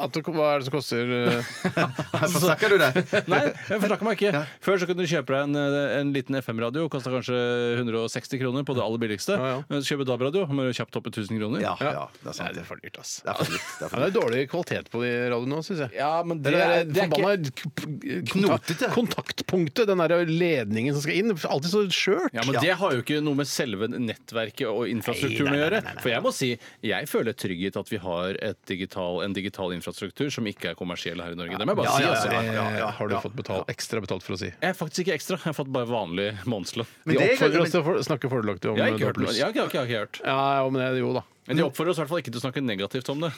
At, det- hva er det som koster eh, Hvorfor snakker du det? Nei, jeg forsnakker meg ikke. Før så kunne du kjøpe deg en, eh, en liten FM-radio. Kosta kanskje 160 kroner på det aller billigste. Ja, ja. Men så Kjøper du DAB-radio, må du kjapt opp i 1000 kroner. Ja, ja, det er sant. Nei, det Det er for dyrt, ass. Det er for dyrt. Det er Ja, for det dyrt. er dårlig kvalitet på de radioene nå, syns jeg. Ja, men Det det, der er, er det er ikke forbanna k- Knotete. kontak- kontaktpunktet, den der ledningen som skal inn. Alltid så skjørt. ja, men Det har jo ikke noe med selve nettverket og infrastrukturen å gjøre. For jeg må si, jeg føler trygghet at vi har et digital, en digital infrastruktur som ikke er kommersiell her i Norge. Det må jeg bare Ja, ja, si. ja, Altså. ja, ja, ja. har du fått betalt, ekstra betalt for å si. Jeg er faktisk ikke ekstra, jeg har fått bare vanlig månedslønn. De det- oppfordrer oss til å for, snakke fordelaktig om Jeg har ikke DAB+. hørt noe. Jeg har ikke, jeg har ikke hørt. Ja, ja, men det, jo da. Men de oppfordrer oss i hvert fall ikke til å snakke negativt om det.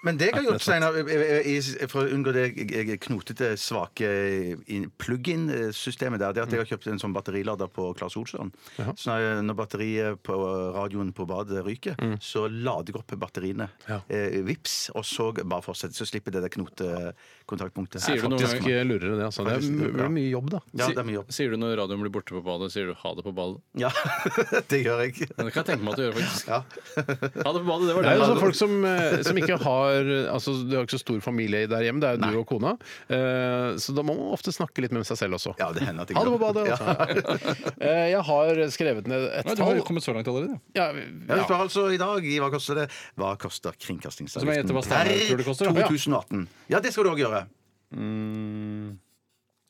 Men det jeg har gjort, Steinar, eh, i- i- for å unngå det eh, knotete, svake eh, in- plug-in-systemet der, det er at jeg har kjøpt en sånn batterilader på Claes Olsson. Så når, når batteriet på eh, radioen på badet ryker, så lader jeg opp Mm. batteriene Ja. eh, vips, og så bare fortsetter. Så slipper det der knotekontaktpunktet. Sier du noen Faktisk ikke gang- lurere, det. Altså. Det er Faktisk, my- ja. mye jobb, da. Ja, det er mye jobb. Sier du når radioen blir borte på badet, sier du ha det på badet? Ja, det gjør jeg. Men Det kan jeg tenke meg at du gjør, faktisk. Ja. Ha det på badet, det var Det er det. jo sånn folk som, eh, som ikke har har, altså, du har ikke så stor familie der hjemme, det er jo du og kona. Eh, så da må man ofte snakke litt med seg selv også. Ja, det hender at jeg ha det på badet! glemmer. altså. Eh, jeg har skrevet ned et Nei, du har tall. jo kommet så langt allerede. Ja, Ja, ja. vi spør altså i dag i Hva koster det? Hva koster Så må jeg gjette kringkastingsavgiften hva Steinar tror det koster. da. 2018. Ja, det skal du òg gjøre.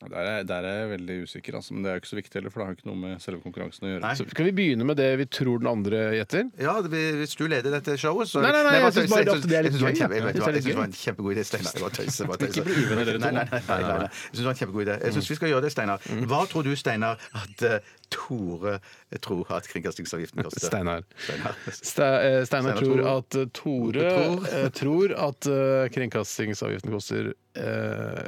Der er, der er jeg veldig usikker, altså. men det er jo ikke så viktig heller, for det har jo ikke noe med selve konkurransen å gjøre. Nei. Så Skal vi begynne med det vi tror den andre gjetter? Ja, det blir- Hvis du leder dette showet, så Nei, nei, nei, jeg bare synes bare tøys. at det er litt Jeg synes var en gøy, kjempe- ja. jeg vet Jeg synes hva, det er Jeg syns det var en litt kjempegod idé, Steinar. Jeg bare tøyser, bare tøyser. Ikke bli uvenner, dere to. Nei, nei, nei, nei, nei, nei. Jeg syns det var en kjempegod idé. Jeg syns vi skal gjøre det, Steinar. Mm. Hva tror du, Steinar, at eh, Tore tror at kringkastingsavgiften koster? Steinar. Steinar. Ste- eh, Steinar Steinar tror tror- at eh, Tore Tror. eh, tror at eh, kringkastingsavgiften koster eh,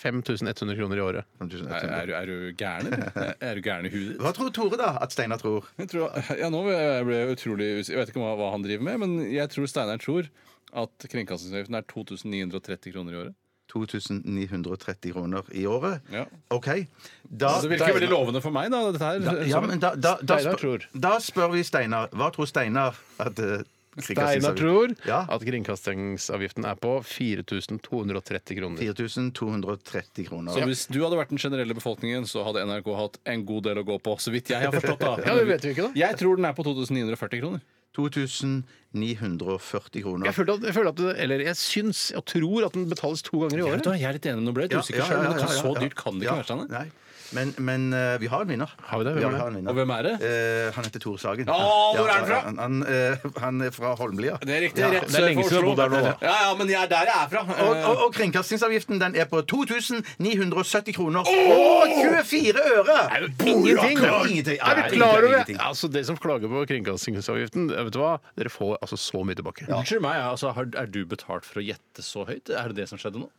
5100 kroner i året. Er, er, du- er du gæren, eller? Er du gæren i huet? ditt? Hva tror Tore, da, at Steinar tror? Jeg, tror, ja, nå ble jeg ble jeg utrolig usikker. Jeg vet ikke hva, hva han driver med, men jeg tror Steinar tror at kringkastingsavgiften er 2930 kroner i året. 2930 kroner i året. Ja. OK. Da Altså, Så det Altså, virker veldig lovende for meg, da. Dette her. Da, ja, men da, da, da, Steinar spør- tror. da spør vi Steinar. Hva tror Steinar at eh, Steinar kringkastingsavgift- tror ja. at kringkastingsavgiften er på 4230 kroner. 4230 kroner. så hvis du hadde vært den generelle befolkningen, så hadde NRK hatt en god del å gå på. Så vidt jeg har forstått, da. Ja, det vet vi ikke, da. Jeg tror den er på 2940 kroner. 2940 kroner. Jeg, følte at, jeg, føler at det, eller jeg syns og tror at den betales to ganger i Jeg, vet, året. da, jeg er litt enig, nå ble jeg litt usikker selv, men det kan- så dyrt kan det ikke Ja, være. Steinar. Nei. Men, men eh, vi har en vinner. Har vi det? Hvem Ja, er det? har en vinner. Og hvem er det? Eh, han heter Tore Sagen. Å, hvor er han fra? Han, han, eh, han er fra Holmlia. Det er riktig. Ja. rett det er sør lenge for siden du har Oslo. bodd her nå, da. Ja, ja, men jeg er der jeg er fra. Og, og, og kringkastingsavgiften den er på 2970 kroner og 24 øre! Ingenting! Det er ingenting. Ja, Er det du klar over det? ingenting. Altså, Dere som klager på kringkastingsavgiften, vet du hva? dere får altså så mye tilbake. Unnskyld meg, altså, har, er du betalt for å gjette så høyt? Er det det som skjedde nå?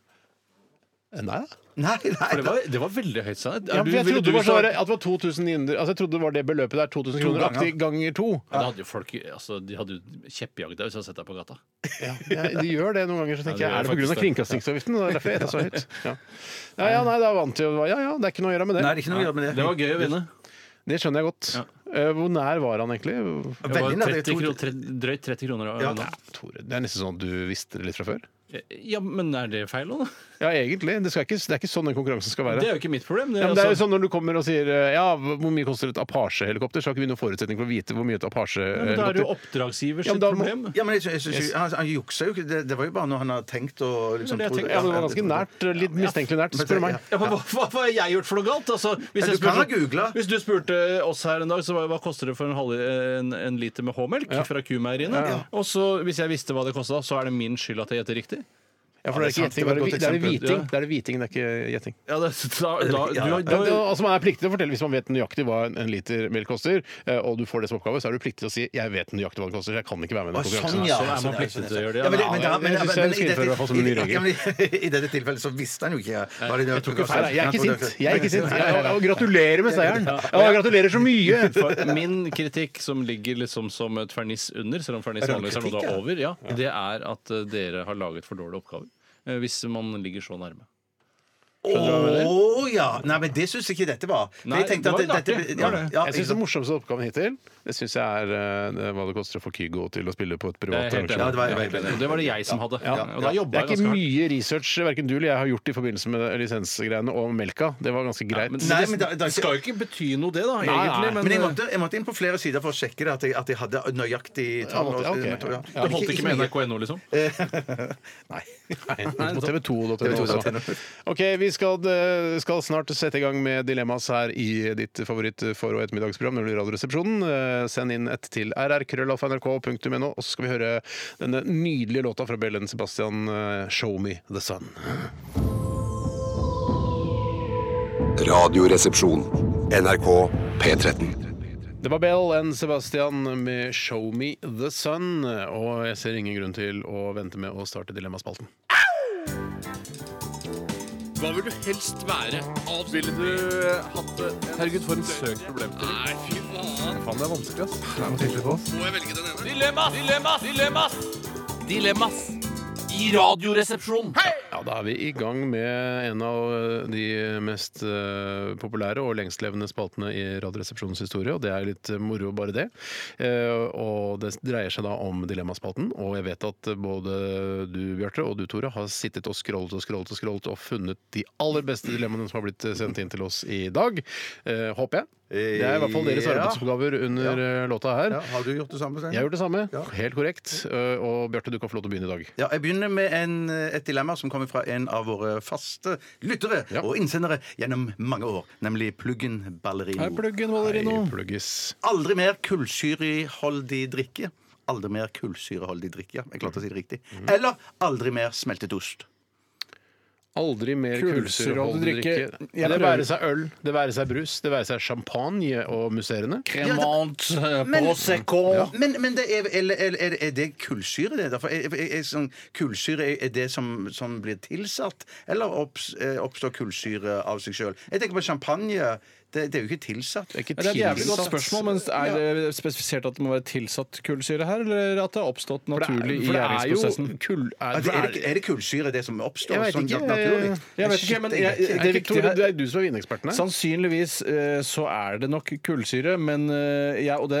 Eh, Nei. Nei, nei, Det var, det var veldig høyt, Steinar. Ja, Er du- for jeg ville trodde du det var så- sagt- at det var 2900 Altså jeg trodde det var det beløpet der, 2000 kroner aktig ganger to. Ja, Da hadde jo folk altså, De hadde jo kjeppjagd deg hvis de hadde sett deg på gata. Ja, de gjør det noen ganger. så tenker Ja, jeg, de Er det pga. gjør faktisk det. kringkastingsavgiften? Det er derfor jeg gjetter så høyt. Ja. ja, ja, nei, da vant jeg. Ja, ja, det er ikke noe å gjøre med Nei, det det. er ikke noe å gjøre med det. Det var gøy å vinne. Det skjønner jeg godt. Eh, Hvor nær var han egentlig? Det var Veldig nær, det er 30 to- kro, tre, drøyt 30 kroner å Ja. vinne. Tore, det er nesten sånn at du visste det litt fra før? Ja, men er det feil nå? da? Ja, egentlig. Det, skal ikke, det er ikke sånn den konkurransen skal Det være. er jo ikke mitt problem. Det Ja, er, men det er jo altså, sånn Når du kommer og sier eh, ja, hvor mye koster et Apache-helikopter, så har ikke vi noen forutsetning for å vite hvor mye et ja, men da er det Apache-helikopter jo oppdragsgivers Ja, men da må- problem. Ja, men jeg, synes- jeg, synes jo- han, han juksa jo ikke. Det, det var jo bare når han hadde tenkt og liksom Det var det jeg trodde- tenkte. ja, men det var ganske nært. eh, Litt mistenkelig nært, spør du meg. Ja, men hva, hva hva har jeg gjort for noe galt? Altså, hvis, Ja, jeg du kan ha spurte- googlet. hvis du spurte oss her en dag, så hva, hva koster det for en, halv, en, en liter med H-melk fra kumeieriene? Og så, hvis jeg visste hva det kosta, så er det min skyld at jeg gjetter riktig? Ja, for det er ikke Ja, det er gjetting, sant. det er Det var et det er godt hviting. eksempel. Det er det hviting, det er ikke gjetting. Ja, det, da, da, du, har- Ja, da, det, altså Man er pliktig til å fortelle hvis man vet nøyaktig hva en en liter melk koster, eh, og du får det som oppgave, så er du pliktig til å si 'jeg vet nøyaktig hva den koster', så jeg kan ikke være med i den Å, sånn, konkurransen. ja. så er man pliktig til å gjøre det. Ja, men, det- Ja, men, da- men, jeg synes men, jeg skal innføre i hvert fall som en ny i, regel. ja, men, I dette tilfellet så visste han jo ikke hva Nei, det tok ikke feil. nei, jeg er ikke sint. Jeg er ikke sint. Jeg, og gratulerer med seieren! Ja, jeg gratulerer så mye! For min kritikk, som ligger liksom som et ferniss under, selv om ferniss det vanligvis er noe kritikk, du har ja? over, ja, det er at eh, dere har laget for dårlige oppgaver. Eh, Hvis man ligger så nærme. Å ja! Nei, men det syns jeg ikke dette var. For Nei, jeg tenkte det var at litt dette- artig. ja, Det var det. ja, Jeg synes Den morsomste oppgaven hittil Det synes jeg er eh, det- hva det koster å få Kygo til å spille på et Jeg privat er helt enig. arrangement. Ja, det var- Jeg er helt enig. Og det var det jeg som hadde. Ja. Og da Det er jobba jeg ikke ganske hardt. mye research verken du eller jeg har gjort i forbindelse med lisensgreiene og melka. Det var ganske greit. Men Nei, det- men da- da- det skal jo ikke bety noe, det, da, nei. egentlig. eh, Men jeg måtte, jeg måtte inn på flere sider for å sjekke det, at jeg, at jeg hadde nøyaktig tall. Ja, måtte- ja, ok. og- ja. Ja, det holdt ikke med NRK.no, liksom? Nei. På TV2.no TV2.no. også. Ok, vi skal, eh, skal snart sette i gang med dilemmas her i ditt favoritt for- og ettermiddagsprogram, nemlig Radioresepsjonen. Eh, Send inn et til rrkrøllalfa.nrk.no, og så skal vi høre denne nydelige låta fra Bellen Sebastian, eh, 'Show Me The Sun'. Radioresepsjon. NRK P13. Det var Bell and Sebastian med 'Show Me The Sun', og jeg ser ingen grunn til å vente med å starte Dilemmaspalten. Hva vil du helst være? Ville du hatt det? Herregud, for en søk problem. Nei, fy faen. Faen, det er vanskelig, ass. Det er noe tydelig på oss. Må jeg velge den ene? Dilemmas! Dilemmas! Dilemmas! Dilemmas! I radioresepsjonen. Ja, da er vi i gang med en av eh, de mest eh, populære og lengstlevende spaltene i Radioresepsjonens historie, og det er litt moro, bare det. Eh, og det dreier seg da om Dilemmaspalten, og jeg vet at eh, både du, Bjarte, og du, Tore, har sittet og scrollet og scrollet og scrollet og funnet de aller beste dilemmaene som har blitt eh, sendt inn til oss i dag. Eh, håper jeg. Det er i hvert fall deres Ja. arbeidsoppgaver under eh, låta her. Ja, har du gjort det samme? Stein? Jeg gjør det samme. Ja. Helt korrekt. Eh, Og Bjarte, du kan få lov til å begynne i dag. Ja, jeg begynner med en, eh, et dilemma som kommer fra en av våre faste lyttere Ja. og innsendere gjennom mange år, nemlig Pluggen Ballerino. Hei, pluggen, Valerino. Hei, pluggis. Aldri mer kullsyreholdig drikke. Aldri mer kullsyreholdig drikke, ja. Jeg klarte å si det riktig. Eller aldri mer smeltet ost. Aldri mer Kullsyreholdig kullsyreholdig drikke. drikke. Jeg Det prøver. være seg øl, det være seg brus, det være seg champagne og musserende. Cremant Prosecco. Men, men det er, eller, eller, er, er det kullsyre, det? Derfor er, er, er sånn, kullsyre er, er det som, som blir tilsatt, eller opps, eh, oppstår kullsyre av seg sjøl? Jeg tenker på champagne. Det, det er jo ikke tilsatt. Det er ikke Det er et jævlig godt tilsatt. spørsmål, men er det spesifisert at det må være tilsatt kullsyre her, eller at det har oppstått For det er- naturlig i for det er jo gjæringsprosessen? Kull, er, Ja, det, er, det, er, er det kullsyre, det som oppstår? jeg vet sånn ikke. nat- naturlig? Jeg vet ikke, men Shit, jeg- er det ikke, viktige Tore, her- det er du som er vineeksperten her. Sannsynligvis eh, så er det nok kullsyre, men eh, ja, og det,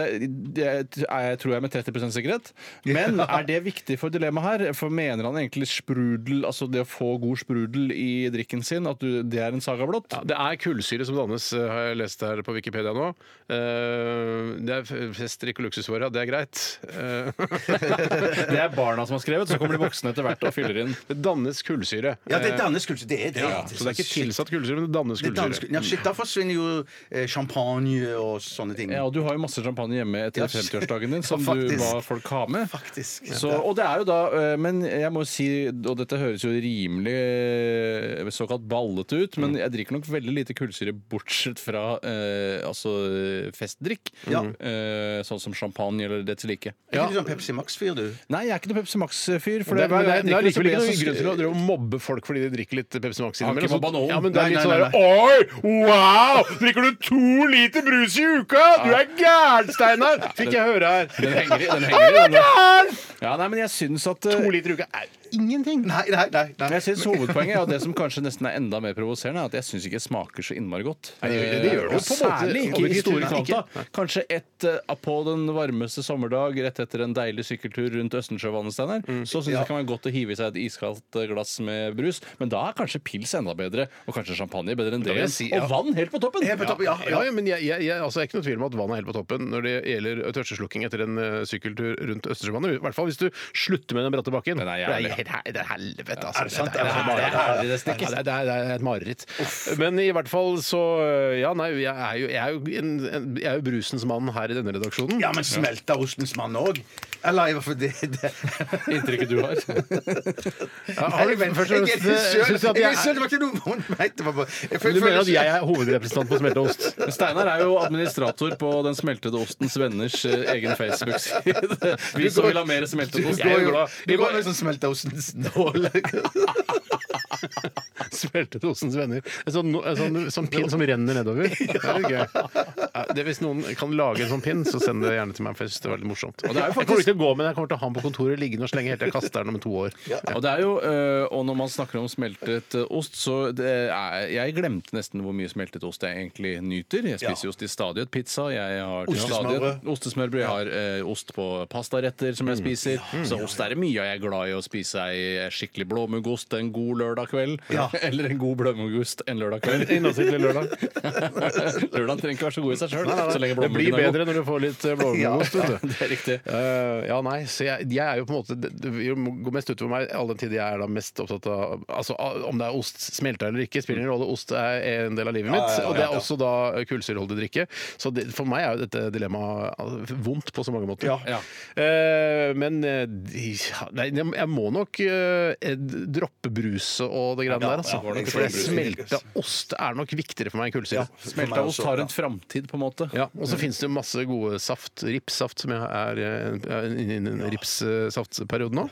det er, jeg tror jeg med 30 sikkerhet. Men er det viktig for dilemmaet her? For mener han egentlig sprudel, altså det å få god sprudel i drikken sin, at du, det er en saga blått? Ja, det er kullsyre som dannes, eh, har jeg lest her på Wikipedia nå. Eh, Det er f- fest, drikk og luksusvarer, ja, det er greit. Eh, Det er barna som har skrevet, så kommer de voksne etter hvert og fyller inn. Det dannes kullsyre. Ja, det Eh, dannes kullsyre. Det er det. ja, så det er ikke tilsatt kullsyre, men det dannes Det dannes kullsyre. kullsyre. Ja, shit, da forsvinner jo eh, champagne og sånne ting. Ja, og du har jo masse champagne hjemme etter Ja, 50-årsdagen din, som ja, du faktisk. ba folk ha med. Faktisk. Så, og det er jo da, eh, men jeg må jo si, og dette høres jo rimelig eh, såkalt ballete ut, men jeg drikker nok veldig lite kullsyre bortsett fra eh, altså eh, festdrikk. Ja. Eh, sånn som champagne eller dets like. Er ikke du sånn Pepsi Max-fyr, du? Nei, jeg er ikke noe Pepsi Max-fyr. for Det er, men men det er, det er drikker likevel så ikke noen mye grunn til å som- drive og mobbe folk fordi de drikker litt Pepsi Max Har ikke innimellom. mobba noen. Ja, men det er Nei, litt nei, sånn der, Oi! Wow! Drikker du to liter brus i uka?! Du er gæren, Steinar! Fikk jeg høre her. Den henger i, den Er henger i. du den. gæren?! Ja, nei, men jeg syns at eh, To liter i uka er ingenting. Nei, nei, nei. nei. Men Jeg synes Hovedpoenget er at det som kanskje nesten er enda mer provoserende, er at jeg syns ikke det smaker så innmari godt. Nei, det gjør- det gjør det jo på Og en måte. Særlig ikke Objektivt i store sett ikke. kvanta. Kanskje et eh, på den varmeste sommerdag rett etter en deilig sykkeltur rundt Østensjøvannet, Steinar. Så syns jeg det kan være godt å hive i seg et iskaldt eh, glass med brus, men da er kanskje pils enda bedre, og kanskje champagne bedre enn det. vil jeg si, ja. Og vann helt på toppen! Helt på toppen, ja. Ja, ja, men jeg, jeg, jeg, altså, jeg er ikke noe tvil om at vannet er helt på toppen når det gjelder tørsteslukking etter en eh, sykkeltur rundt Østersjøvannet. I hvert fall hvis du slutter med den bratte bakken. Den er Det jævlig. helt he- det er helvete, altså. det sant? Det er- Er det det er- det er- det er- ja, sant? det er- det er et mareritt. Men i hvert fall så eh, Ja, nei, jeg er jo, jeg er jo, en, en, jeg er jo brusens mann her i denne redaksjonen. Ja, men smelta ostens mann òg? Eller i hvert fall det, det. Inntrykket du har. Ja, har du- Nei, men først og jeg er fremst, eh, ikke søl. synes du at Jeg jeg er søl, Det var ikke noe vondt ment. det var bare- jeg føler- Du mener at føler- jeg er hovedrepresentant på smelteost? Men Steinar er jo administrator på Den smeltede ostens venners eh, egen Facebook-side. Vi som vil ha mer smeltet ost. Du Jeg går er jo jo- glad. Du går med sånn smelta ostens nål. Smeltet Osens venner. En sånn, en sånn, sånn pinn som renner nedover. Det er litt gøy. Ja, det, hvis noen kan lage en sånn pinn, så send det gjerne til meg. For jeg synes det var litt morsomt. det er jo Jeg kommer ikke til å gå med den. Jeg kommer til å ha den på kontoret liggende og slenge helt til jeg kaster den om to år. Og det er jo, øh, og når man snakker om smeltet øh, ost, så det er, jeg glemte nesten hvor mye smeltet ost jeg egentlig nyter. Jeg spiser jo ost i stadighet pizza, jeg har til Ostesmørbrød. stadighet- ostesmørbrød, jeg har øh, ost på pastaretter som jeg Mm. spiser. Så ost er det mye av. jeg er glad i å spise ei eh, skikkelig blåmuggost en god lørdag kveld. Eller en god blåmuggost en lørdag kveld. Innholdsriktig lørdag. Lørdagen trenger ikke være så god i seg sjøl, så lenge Det blir blåmuggen er god. bedre når du får litt eh, blåmuggost. vet du. Det er riktig. Eh, ja, nei, så jeg, jeg er jo på en måte Det det vil gå mest utover meg all den tid jeg er da mest opptatt av Altså a- om det er ost smelta eller ikke, spiller ingen rolle. Ost er en del av livet mitt, og det er også da kullsyreholdig drikke. Så det, for meg er jo dette dilemmaet altså, vondt på så mange måter. Ja. Eh, men eh, de, ja, nei, jeg må nok eh, droppe bruset og det greiene der. altså. Ja, var nok for det kullsyre. smelta ost er nok viktigere for meg enn kullsyre. Ja. For meg Smelta ost også, har ja. en framtid, på en måte. Ja, og så finnes det jo masse gode saft, ripssaft, som jeg er eh, inne i en ripssaftperiode nå.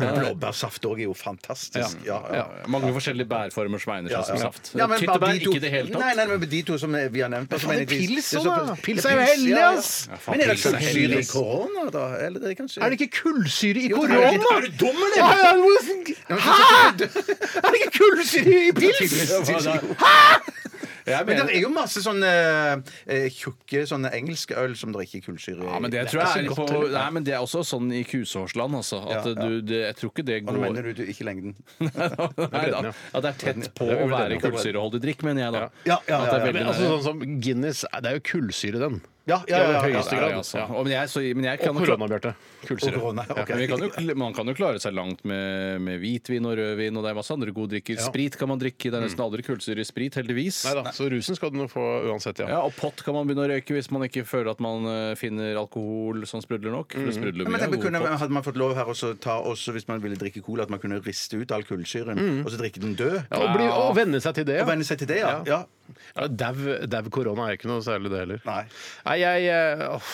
Blåbærsaft òg er jo fantastisk. Ja, ja. Ja, mange forskjellige bærformer som egner seg som saft. Ja, men bare Tyttebær de to- ikke i det hele Nei, tatt. nei, men de to som vi har nevnt altså, faen, mener jeg- pils det også, så- da. det Pils er jo pils, hellig, ja, ja. ass. Ja, faen, Men er det pils er kullsyre i hellig, ass. korona, da? Eller det er kanskje Er det ikke kullsyre i Jo, det er korona?! det. Er du dum, eller? Ja, ja, hvor- Hæ?! Er det ikke kullsyre i pils?! Jeg Men mener, det er jo masse sånne eh, tjukke sånne engelske øl som det ikke er kullsyre i. ja, men det tror jeg er litt på Nei, men det er også sånn i kusehårsland, altså. At Ja, ja. du det, Jeg tror ikke det Og nå går mener du, du ikke lengden. Nei, da. At det er tett på Det er å vel være det, ja. kullsyreholdig drikk, mener jeg da. Ja, ja, ja, At det er ja, veldig Men altså sånn som Guinness, det er jo kullsyre, den. Ja, ja, ja, ja, Ja, høyeste det er det, grad. altså. Ja. Og, men jeg, så, men jeg kan Og jo korona, Bjarte. Kullsyre. Og korona, ok. Men vi kan jo, kl- man kan jo klare seg langt med, med hvitvin og rødvin, og det er masse andre gode drikker. Sprit kan man drikke, det er nesten aldri kullsyre i sprit, heldigvis. Nei da, så rusen skal du nå få uansett, ja. Ja, Og pott kan man begynne å røyke hvis man ikke føler at man eh, finner alkohol som sprudler nok. For det sprudler Ja, men mye. tenk, av man god kunne, pott. hadde man fått lov her også ta også, hvis man ville drikke cola, at man kunne riste ut all kullsyren og så drikke den død? Ja, og, bli, og venne seg til det. Og Ja. venne seg til det, ja. ja. Ja, Dau dau korona er ikke noe særlig, det heller. Nei. Nei, jeg, eh, åh,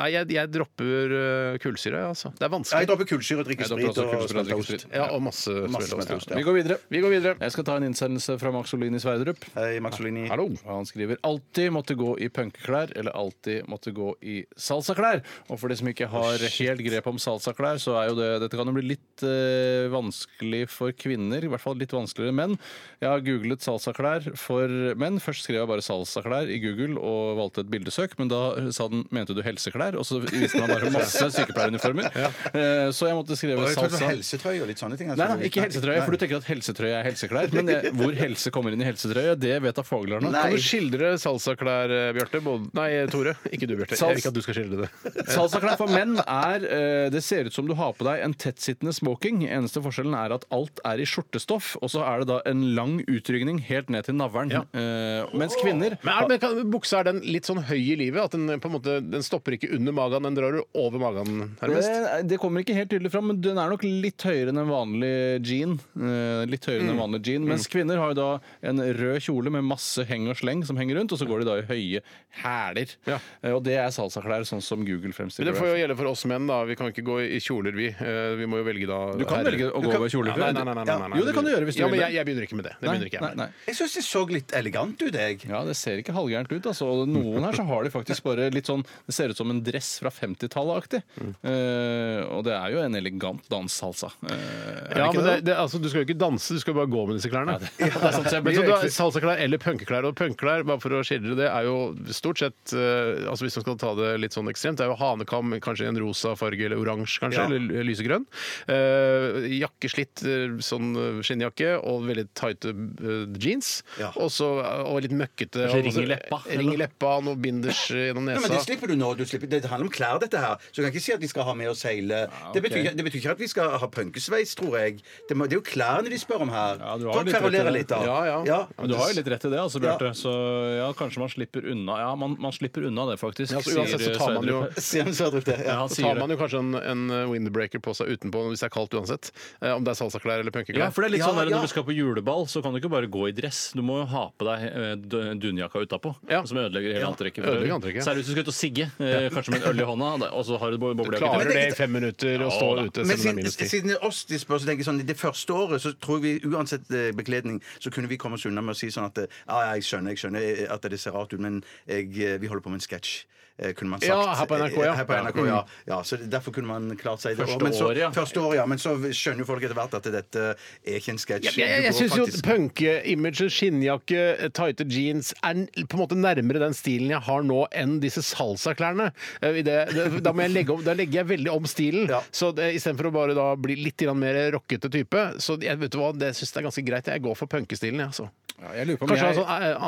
nei, jeg, jeg dropper eh, kullsyre, jeg, altså. Det er Ja, Jeg vanskelig. dropper kullsyre og drikker Jeg dropper sprit også og kullsyre og smelta drikker ost. sprit. Ja, og masse Masse smelta ost. smelta Ja. ost, ja. Vi går videre. Vi går videre. Jeg skal ta en innsendelse fra Max Olin i Sverdrup. Hei, Maxolini. Hallo. Og Han skriver alltid måtte gå i punkeklær eller alltid måtte gå i salsaklær. Og for de som ikke har helt grep om salsaklær, så er jo det Dette kan jo bli litt eh, vanskelig for kvinner. I hvert fall litt vanskeligere enn menn. Jeg har googlet salsaklær for menn. Først skrev jeg bare salsaklær i Google og valgte et bildesøk, men da sa den mente du helseklær? Og så viste den meg bare masse sykepleieruniformer. Eh, Så jeg måtte Og skrive jeg tror det var salsa. helsetrøye og litt sånne ting. altså. Nei, nei, ikke helsetrøye, for du tenker at helsetrøye er helseklær. Men eh, hvor helse kommer inn i helsetrøye, det vet da faglærerne. Kan du skildre salsaklær, eh, Bjarte? Både- Nei, Tore. Ikke du, Bjarte. Jeg Sals- vil ikke at du skal skildre det. Salsaklær for menn er eh, Det ser ut som du har på deg en tettsittende smoking. Eneste forskjellen er at alt er i skjortestoff, og så er det da en lang utrygning helt ned til navlen. Eh, mens kvinner Men er, men kan, Buksa er den litt sånn høy i livet? At den eh, på en måte den stopper ikke under magen, den drar over magen nærmest? det, det kommer ikke helt tydelig fram, men den er nok litt høyere enn en vanlig jean. Eh, litt høyere Mm. enn en vanlig jean Mens kvinner har jo da en rød kjole med masse heng og sleng som henger rundt, og så går de da i høye hæler. Ja. Eh, og det er salsaklær, sånn som Google Men fremstiller det får jo gjelde for oss menn, da. Vi kan ikke gå i kjoler, vi. Eh, Vi må jo velge da Du kan herre. velge å Du gå kan- over Ja, kjoler, nei, for- nei, nei, nei, nei, nei, Jo, det kan du gjøre hvis du ja, vil Men det. jeg, jeg begynner ikke med det. Det begynner ikke jeg nei, med. nei. Jeg syns det så litt elegant ut, jeg. Ja, det ser ikke halvgærent ut. Altså. Og noen her så har de faktisk bare litt sånn Det ser ut som en dress fra 50-tallet-aktig. Mm. Eh, og det er jo en elegant danssalsa. Eh, er Ja, det ikke men det? det, det, altså, Du skal jo ikke danse, du skal bare gå med disse klærne. er sant, så jeg blir men så jo du har egentlig- Salsaklær eller punkeklær. Og punkeklær bare for å skildre det, er jo stort sett eh, altså Hvis man skal ta det litt sånn ekstremt, det er jo hanekam, kanskje i en rosa farge eller oransje, kanskje, Ja. eller lysegrønn. Eh, jakke slitt, eh, sånn eh, skinnjakke, og veldig tighte eh, jeans. Ja. Og så eh, og litt møkkete. og Kanskje også- ring i leppa, Ring i eller? leppa, noe binders eh, gjennom Ja, nesa. men Det slipper du nå. Du slipper. Det handler om klær, dette her. Så du kan ikke si at vi skal ha med å seile. Ah, det, betyr, ikke- det betyr ikke at vi skal ha punkesveis, tror jeg. Det, må, det er jo klærne de spør om her. Ja, du har For å litt rett i kverulere det. litt, da. Ja, ja. Ja, men du har jo litt rett i det, altså, Ja. Bjarte. Så ja, kanskje man slipper unna Ja, man, man slipper unna det, faktisk. Ja, altså, uansett så tar man jo- Sverdrup. Sier han Sverdrup det? Ja, Ja. han Så tar sier man det. jo kanskje en, en windbreaker på seg utenpå hvis det er kaldt uansett. Eh, om det er salsaklær eller punkeklær. Ja, for det er litt Ja, sånn der, ja. Når du skal på juleball, så kan du ikke bare gå i dress. Du må jo ha på deg eh, du- dunjakka utapå, Ja. som ødelegger hele antrekket. for ødelegger øvrig. antrekket, ja. Særlig hvis du skal ut og sigge, eh, kanskje med en øl i hånda, da- og så har du bo- boblejakke. Klarer til. det i fem minutter å stå Ja, da. ute Men selv om det er siden, minus ti? siden det er oss de spør, så tenker jeg sånn det første året så tror jeg vi uansett eh, bekledning så kunne vi komme oss unna med å si sånn at eh, ja, ja, jeg skjønner, jeg skjønner eh, at det ser rart ut, men jeg, eh, vi holder på med en sketsj. eh, Kunne man sagt. Ja, her på NRK, ja. Mm. Eh, Her på NRK, ja. ja så Derfor kunne man klart seg det. Første Og- men så, året, ja. Første året, ja. Men så skjønner jo folk etter hvert at dette er ikke en sketsj. Jeg, jeg, jeg Du går syns jo faktisk- punke-imaget, skinnjakke, tighte jeans er n- på en måte nærmere den stilen jeg har nå enn disse salsaklærne. Eh, i det- det- Da, må jeg legge om- da legger jeg veldig om stilen. Ja. Så det- istedenfor å bare da bli litt grann mer rockete type, så jeg, vet du hva, det syns jeg er ganske greit. Jeg går for punkestilen, jeg, altså. Ja, jeg lurer på om Kanskje ha jeg- sånn eh,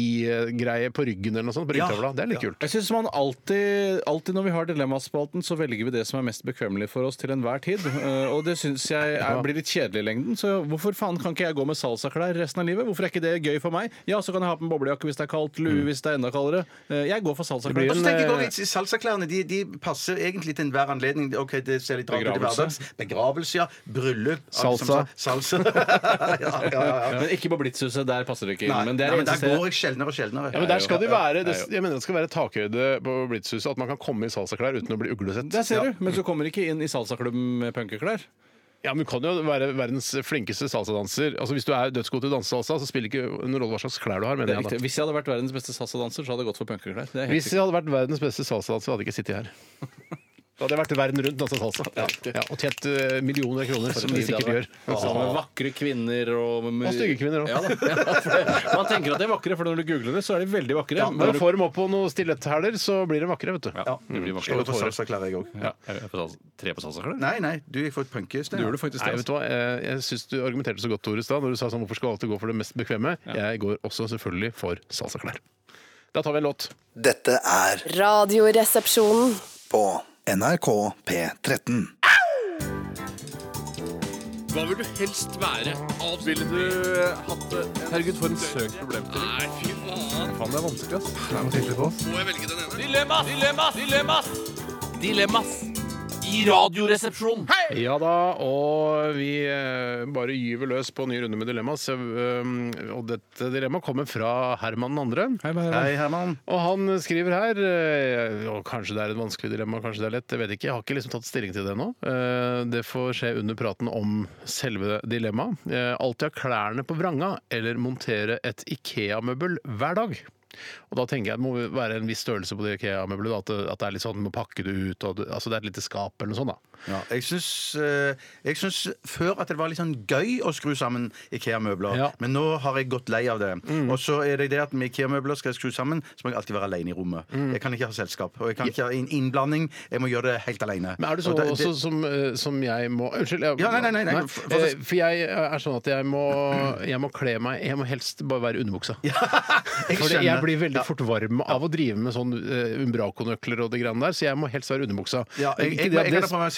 anarkigreie på ryggen eller noe sånt. På ryggtavla. Det er litt kult. Jeg synes man alltid, alltid når vi har Dilemmaspalten, så velger vi det som er mest bekvemmelig for oss til enhver tid. Eh, Og det syns jeg er, blir litt kjedelig i lengden. Så hvorfor faen kan ikke jeg gå med salsaklær resten av livet? Hvorfor er ikke det gøy for meg? Ja, så kan jeg ha på meg boblejakke hvis det er kaldt, lue hvis det er enda kaldere. Eh, Jeg går for Mm. blir en- salsaklær. eh, Så tenker jeg også, at Salsaklærne de, de passer egentlig til enhver anledning. Ok, det ser litt rart ut i Begravelse. hverdags. Begravelse, ja. Bryllup. alt som Salsa. sa- Salsa. ja, ja, ja, ja. Men ikke på Blitzhuset, der passer det ikke inn. Nei, men, men det er det eneste der stedet går jeg sjeldnere og sjeldnere. Ja, men der skal det være, det, Ja, ja. jeg mener det skal være takhøyde på Blitzhuset, at man kan komme i salsaklær uten å bli uglesett. der ser du, men du kommer ikke inn i salsaklubben med punkerklær. Ja, men Du kan jo være verdens flinkeste salsadanser. Altså, hvis du er dødsgod til å danse salsa, så spiller det ikke noen rolle hva slags klær du har. Det mener er jeg riktig. da. Hvis jeg hadde vært verdens beste salsadanser, så hadde jeg gått for punkerklær. Det er helt Hvis jeg hadde vært verdens beste salsadanser, hadde jeg ikke sittet her. Da hadde jeg vært verden rundt dansa salsa. Ja, og tjent eh, millioner av kroner, som de sikkert gjør. Sammen med vakre kvinner og Og stygge kvinner også. Ja, da. Ja, for man tenker at de er vakre, for når du googler det, så er de veldig vakre. Ja, Når du får dem opp på noen stiletthæler, så blir de vakre, vet du. Ja, Mm. det blir Jeg går vakre. for salsaklær, jeg òg. Ja. Er det på salsa- Tre på salsa, kanskje? Nei, nei, du gikk for et punkestein. Du gjorde det altså? faktisk Nei, vet det. du hva? Eh, Jeg syns du argumenterte så godt Tore, i stad når du sa sånn, hvorfor skal alltid gå for det mest bekvemme. Jeg går også selvfølgelig for salsaklær. Da tar vi en låt. Dette er Radioresepsjonen. på NRK P13. Herregud, for en søk problem til. Nei, fy faen. Faen, det er vanskelig, ass. Dilemmas! Dilemmas! Dilemmas! Dilemmas i Radioresepsjonen. Ja da, og vi eh, bare gyver løs på ny runde med dilemmas. Eh, um, Og dette dilemmaet kommer fra Herman den andre. Hei, Herman. Og han skriver her eh, og Kanskje det er et vanskelig dilemma, kanskje det er lett. Jeg vet ikke, jeg har ikke liksom tatt stilling til det ennå. Eh, Det får skje under praten om selve dilemmaet. Eh, Alltid ha klærne på vranga eller montere et Ikea-møbel hver dag. Og da tenker jeg Det må være en viss størrelse på det Ikea-møbelet. da, At, det- at det er litt sånn, du må pakke det ut. Og, du- altså Det er et lite skap eller noe sånt. da Ja, jeg, syns, eh, jeg syns før at det var litt sånn gøy å skru sammen Ikea-møbler, Ja. Mm. men nå har jeg gått lei av det. Og så er det det at med Ikea-møbler skal jeg skru sammen, så må jeg alltid være alene i rommet. Mm. Jeg kan ikke ha selskap, og jeg kan ikke ha inn- innblanding. Jeg må gjøre det helt alene. Men er du så, Og det- også det- som, eh, som jeg må Unnskyld. Jeg, Ja, nei, nei, nei, nei. Eh, For- For, for- jeg er sånn at jeg må, jeg må kle meg Jeg må helst bare være i underbuksa. jeg Fordi jeg skjønner. blir veldig Ja. fort varm av å drive med sånn eh, Umbraco-nøkler og det greiene der, så jeg må helst være i underbuksa. Eh, ja, jeg, Ikke jeg, jeg, det at kan det- ha på meg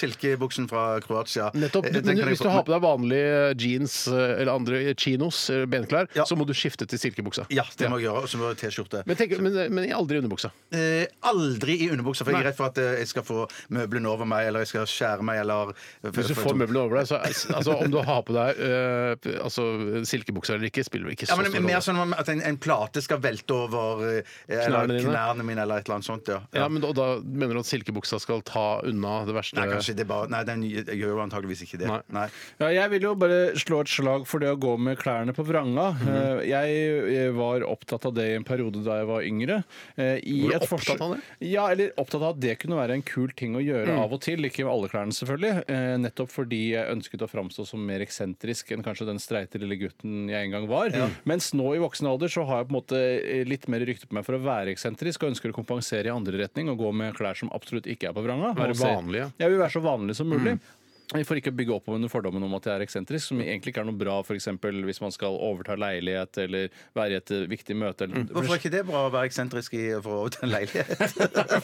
silkebuksen fra Kroatia. Nettopp. Eh, Men den kan jeg hvis du få- har på deg vanlige jeans eh, eller andre chinos, eh, benklær, Ja. så må du skifte til silkebuksa. Ja, det må jeg gjøre. Og så må jeg ha T-skjorte. Men, tenk, men, men jeg er aldri i underbuksa. Eh, aldri i underbuksa, for jeg er redd for at eh, jeg skal få møblene over meg, eller jeg skal skjære meg, eller Hvis du får møblene over deg, så altså, om du har på deg eh, altså, silkebuksa eller ikke, spiller vel ikke så Ja, men stor det er rolle. Mer sånn at en, en plate skal velte over eh, Knærne eller, dine? knærne mine, eller et eller annet sånt. Ja. Ja, men da, da mener du at silkebuksa skal ta unna det verste? Nei, kanskje det er bare Nei, den jeg gjør jo antageligvis ikke det. Nei. Nei. Ja, jeg vil jo bare slå et slag for det å gå med klærne på vranga. Mhm. Eh, Jeg eh, var opptatt av det i en periode da jeg var yngre. eh, i Var du et forsøk- opptatt av det? Mm. Ja, eller opptatt av at det kunne være en kul ting å gjøre av og til. Ikke alle klærne, selvfølgelig. eh, Nettopp fordi jeg ønsket å framstå som mer eksentrisk enn kanskje den streite lille gutten jeg en gang var. Mens nå i voksen alder så har jeg på en måte eh, litt mer rykte på meg for å være eksentrisk og ønsker å kompensere i andre retning og gå med klær som absolutt ikke er på vranga. Være Og se- vanlige. jeg vil være så vanlig som mulig. Mm. For ikke å bygge opp under fordommen om at jeg er eksentrisk, som egentlig ikke er noe bra for eksempel hvis man skal overta leilighet eller være i et eh, viktig møte. Eller, Hvorfor er ikke det bra å være eksentrisk i for å overta en leilighet?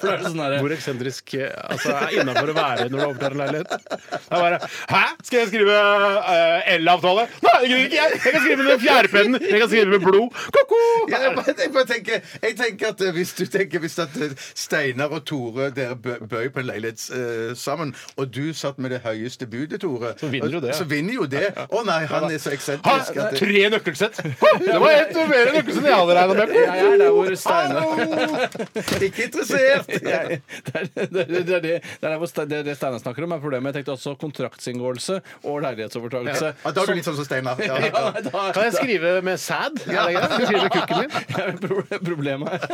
For det er sånn der, Hvor eksentrisk eh, altså, er innafor å være når du overtar en leilighet? Det er bare Hæ? Skal jeg skrive eh, L-avtale? Nei, det gidder ikke jeg! Jeg kan skrive med fjærpennen! Jeg kan skrive med blod! Ko-ko! Ja, jeg, bare, jeg, bare tenker, jeg tenker at eh, hvis du tenker hvis at eh, Steinar og Tore dere bø- bøy på en leilighet eh, sammen, og du satt med det høyeste budet, Tore Så vinner jo det, ja. Så vinner jo det. Å nei, han er så Ha, eksentrisk at det- tre nøkkelsett! Det var ett mer nøkkelsett enn jeg hadde regna med! jeg er der hvor Steinar Ikke interessert! Jeg- Det er det, er- det, er det, det, er hvor Ste- det, er det Steinar snakker om, er problemet. Jeg tenkte også kontraktsinngåelse og leilighetsovertakelse. Ja, da er du litt sånn som Steinar. Ja, ja. Ja, da- Kan jeg skrive med sæd? Er det greit? Skal jeg skrive med kukken min? Ja, men proble- Problemet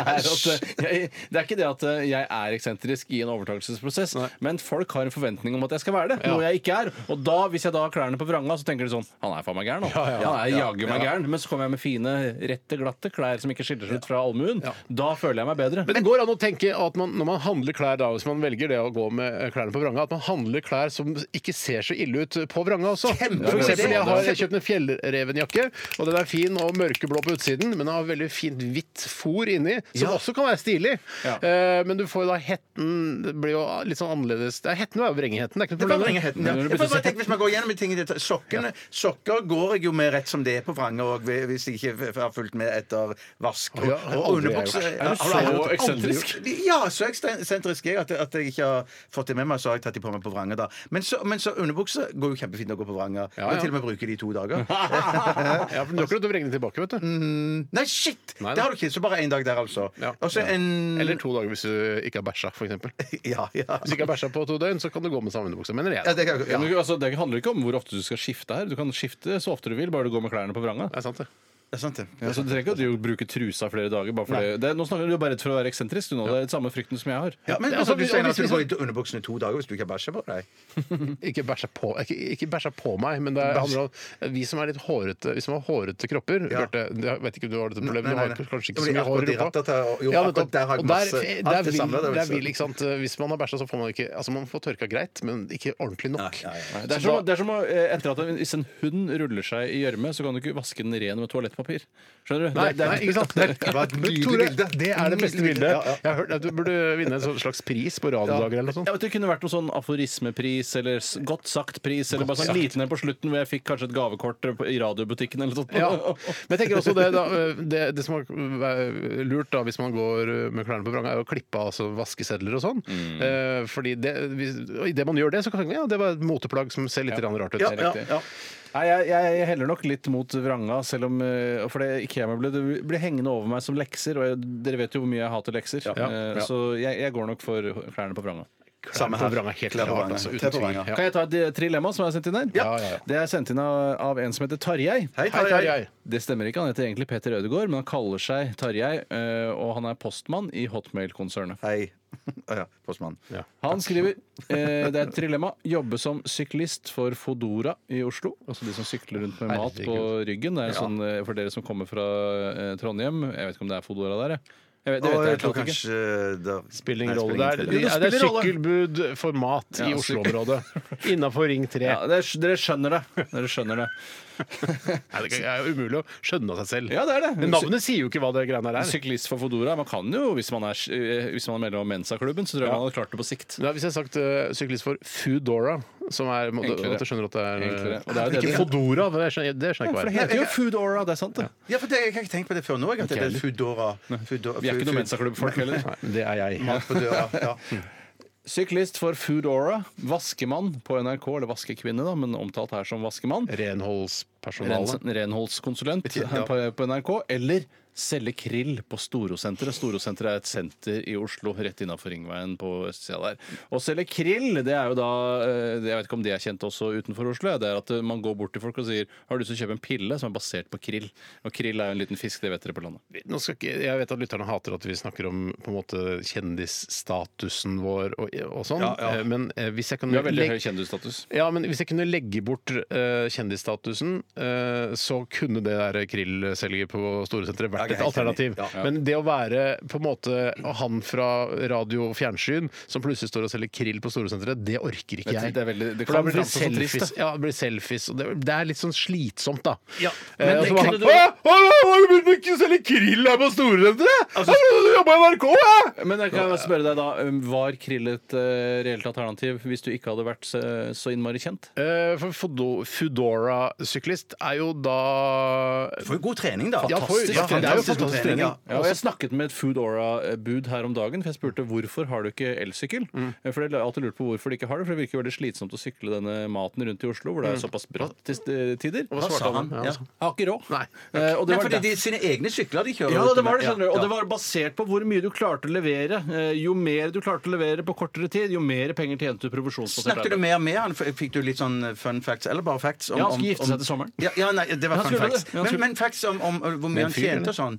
er at eh, jeg, Det er ikke det at eh, jeg er eksentrisk i en overtakelsesprosess, men folk har en forventning om at at jeg skal være det, noe jeg ikke er. Og da, hvis jeg da har klærne på vranga, så tenker de sånn Han er faen meg gæren, nå. Ja, ja, Han er jaggu meg gæren. Men så kommer jeg med fine, rette, glatte klær som ikke skiller seg ut fra allmuen. Da føler jeg meg bedre. Men det går an å tenke at man, når man handler klær da, hvis man velger det å gå med eh, klærne på vranga, at man handler klær som ikke ser så ille ut på vranga også. Kjempe- For eksempel, jeg har kjøpt en fjellrevenjakke, og den er fin og mørkeblå på utsiden, men den har veldig fint hvitt fôr inni, som også kan være stilig. Ja. Eh, men du får jo da hetten, det blir jo litt sånn annerledes. Det er hetten er jo vrengehetten, det er ikke Det noe kan problem. vrenge hetten, ja. Når du Jeg får bytter bare tenke, hvis man går gjennom de tingene i detalj- sokkene, Sokker går jeg jo med rett som det er på vranger òg, hvis jeg ikke f- har fulgt med etter vask. Og, Ja, og aldri underbukse. er jeg- Ja, Er du har aldri så gjort- eksentrisk? aldri gjort- Ja, så eksentrisk er jeg at, at jeg ikke har fått det med meg. Så har jeg tatt de på meg på vranger da. Men så, men så underbukse går jo kjempefint å gå på vranger. Ja, Og ja. til og med bruke de i to dager. Ja, for du har ikke lov til å vrenge den tilbake, vet Mm. du. Nei, shit! Nei, Det nei. har du ikke. Så bare én dag der, altså. Ja. Og så en Eller to dager hvis du ikke har bæsja, for eksempel. Hvis Ja, ja. du ikke har bæsja på to døgn, så kan du gå med samme underbukse, mener jeg. ja, det kan, Ja. ja. Men, altså, det handler ikke om hvor ofte du skal skifte her. Du kan skifte så ofte du vil, bare du går med klærne på vranga. Det er sant, det. Det er sant, det. Altså, du trenger ikke å bruke trusa flere dager. Bare fordi, det, nå snakker du bare redd for å være eksentrisk. Du, nå. Det er den samme frykten som jeg har. Ja, men Ja, altså, og hvis- du sier og at du hvis- går i underbuksene i to dager hvis du ikke har bæsja på deg. Ikke bæsja på, ikke, ikke bæsja på meg, men det er- handler om eh, vi som er litt hårete Vi som har hårete kropper. Ja. Bjarte, jeg vet ikke om du har dette problemet, Nei, du nei, har nei. kanskje ikke Jo, så mye hår i akkurat i rattet rumpa. har jeg- Ja, jo, akkurat nettopp. der har jeg Og masse- der, alt der, det vil, samlet, det vil der si. vil, ikke sant, liksom, eh, Hvis man har bæsja, så får man ikke Altså, man får tørka greit, men ikke ordentlig nok. Det er som, å- det er som å, eh, etter at en, Hvis en hund ruller seg i gjørme, så kan du ikke vaske den ren med toalettpapir. Skjønner du? Nei, Det- det er- nei, ikke sant? Det Det var et Men nydelig Tore, bilde. det er det beste Nydelig bildet. bilde. Ja, ja. Jeg har hørt at Du burde vinne en sånn slags pris på radiodager eller noe sånt. Jeg vet, Det kunne vært noen sånn aforismepris eller s- godt sagt-pris. Eller bare sånn liten en på slutten hvor jeg fikk kanskje et gavekort eh, på- i radiobutikken eller noe sånt. Ja. Men jeg tenker også det, da, det, det som er lurt da, hvis man går med klærne på vranga, er å klippe av altså, vaskesedler og sånn. Mm. Eh, fordi det, hvis, og i det man gjør det, så kan man ja, det var et moteplagg som ser litt grann rart ut. Ja, ja, ja. Nei, jeg, jeg heller nok litt mot vranga, selv om eh, For det IKEA-møblet det blir hengende over meg som lekser, og jeg, dere vet jo hvor mye jeg hater lekser. Eh, ja. Så jeg, jeg går nok for klærne på vranga. Samme På vranga helt Klær på klart, vranga. altså, Klær uten på vranga. tvil. Ja. Kan jeg ta et eh, trilemma som er sendt inn her? Ja, ja, ja. Det er sendt inn av, av en som heter Tarjei. Hei, Hei, Tarjei. Det stemmer ikke, han heter egentlig Peter Ødegaard, men han kaller seg Tarjei, eh, og han er postmann i Hotmail-konsernet. Hei. Å ja, postmann. Han skriver eh, det er et trilemma. Jobbe som syklist for Fodora i Oslo. Altså de som sykler rundt med mat på Herregud. ryggen. Det er sånn, eh, for dere som kommer fra eh, Trondheim. Jeg vet ikke om det er Fodora der, jeg. jeg vet, det Og vet jeg, jeg tror egentlig ikke. kanskje der- Spiller ingen Nei, rolle. spiller Det ingen er, rolle. det, Jo, er, det spiller sykkelbud for mat i Ja, Oslo-området. Innafor Ring 3. Ja, det er, dere skjønner det. Dere skjønner det. Nei, det er jo umulig å skjønne av seg selv. Ja, det er det. Men Navnet sier jo ikke hva det greiene her er. Syklist for Fodora. Man kan jo, hvis man er, eh, hvis man er medlem av Mensa-klubben, så tror jeg man hadde klart det på sikt. Nei, hvis jeg har sagt eh, syklist for Foodora, som er må- Enklere. At jeg skjønner at det er eh, Enklere. Og det er jo det Ikke det- Fodora, for det skjønner, det skjønner jeg ikke hva er. heter jo Foodora, det er sant, det. Ja, for det, Jeg har ikke tenkt på det før nå. Jeg, at det er Foodora. Foodora- Vi er ikke Food- noen Mensa-klubbfolk heller. Nei, Det er jeg. Mat på døra. Ja. Syklist for Foodora. Vaskemann på NRK, eller vaskekvinne, da, men omtalt her som vaskemann. Renholdspersonalet. Rens- Renholdskonsulent her på, på NRK. Eller selge krill på Storosenteret. Storosenteret er et senter i Oslo rett innafor Ringveien på østsida der. Å selge krill, det er jo da eh, Jeg vet ikke om det er kjent også utenfor Oslo. ja, Det er at eh, man går bort til folk og sier Har du lyst til å kjøpe en pille som er basert på krill? Og krill er jo en liten fisk, det vet dere på landet. Nå skal ikke, jeg vet at lytterne hater at vi snakker om på en måte kjendisstatusen vår og, og sånn, eh, men eh, hvis jeg kan Vi har veldig legge- høy kjendisstatus. Ja, men hvis jeg kunne legge bort eh, kjendisstatusen, eh, så kunne det der krillselget på Storesenteret vært et alternativ. Men det å være på en måte han fra radio og fjernsyn som plutselig står og selger krill på Storesenteret, det orker ikke Vet du, jeg. det er veldig- det For da kan blir bli det framstå som trist, selfies. da. Ja, det blir selfies. Og det, det er litt sånn slitsomt, da. Ja, men men eh, og det så bare, kunne du- Hva? Hva? Hva? Har du begynt med å selge krill her på Storesenteret? Altså, du jobba i NRK, jeg! Men jeg kan spørre deg da, um, Var krill et eh, reelt alternativ hvis du ikke hadde vært så, så innmari kjent? Eh, For Fodo- Foodora-syklist er jo da Får jo god trening, da. Ja, får- ja, det er jo fantastisk god trening. ja. Ja, og jeg snakket med et Foodora-bud her om dagen, for jeg spurte hvorfor har du ikke elsykkel. For jeg har alltid lurt på hvorfor de ikke har det, for det virker jo veldig slitsomt å sykle denne maten rundt i Oslo, hvor det er såpass bratt til st- tider. Hva sa svarte han? han? Ja, Ja. altså. Jeg har ikke råd. Nei. Eh, og det Nei, var fordi der- de sine egne sykler de kjører. Ja, ute med. det var det, skjønner Ja, du. Og ja. det var basert på hvor mye du klarte å levere. Eh, Jo mer du klarte å levere på kortere tid, jo mer penger tjente du provisjonsbasert Snakket du mer med han? F- Fikk du litt sånn fun facts, eller bare facts? om- Ja, han skulle om- gifte seg til sommeren. Ja, ja nei, det var Han fun skulle facts. det. Han Men, skulle- men facts om, om uh, hvor mye han fyr, tjente og sånn.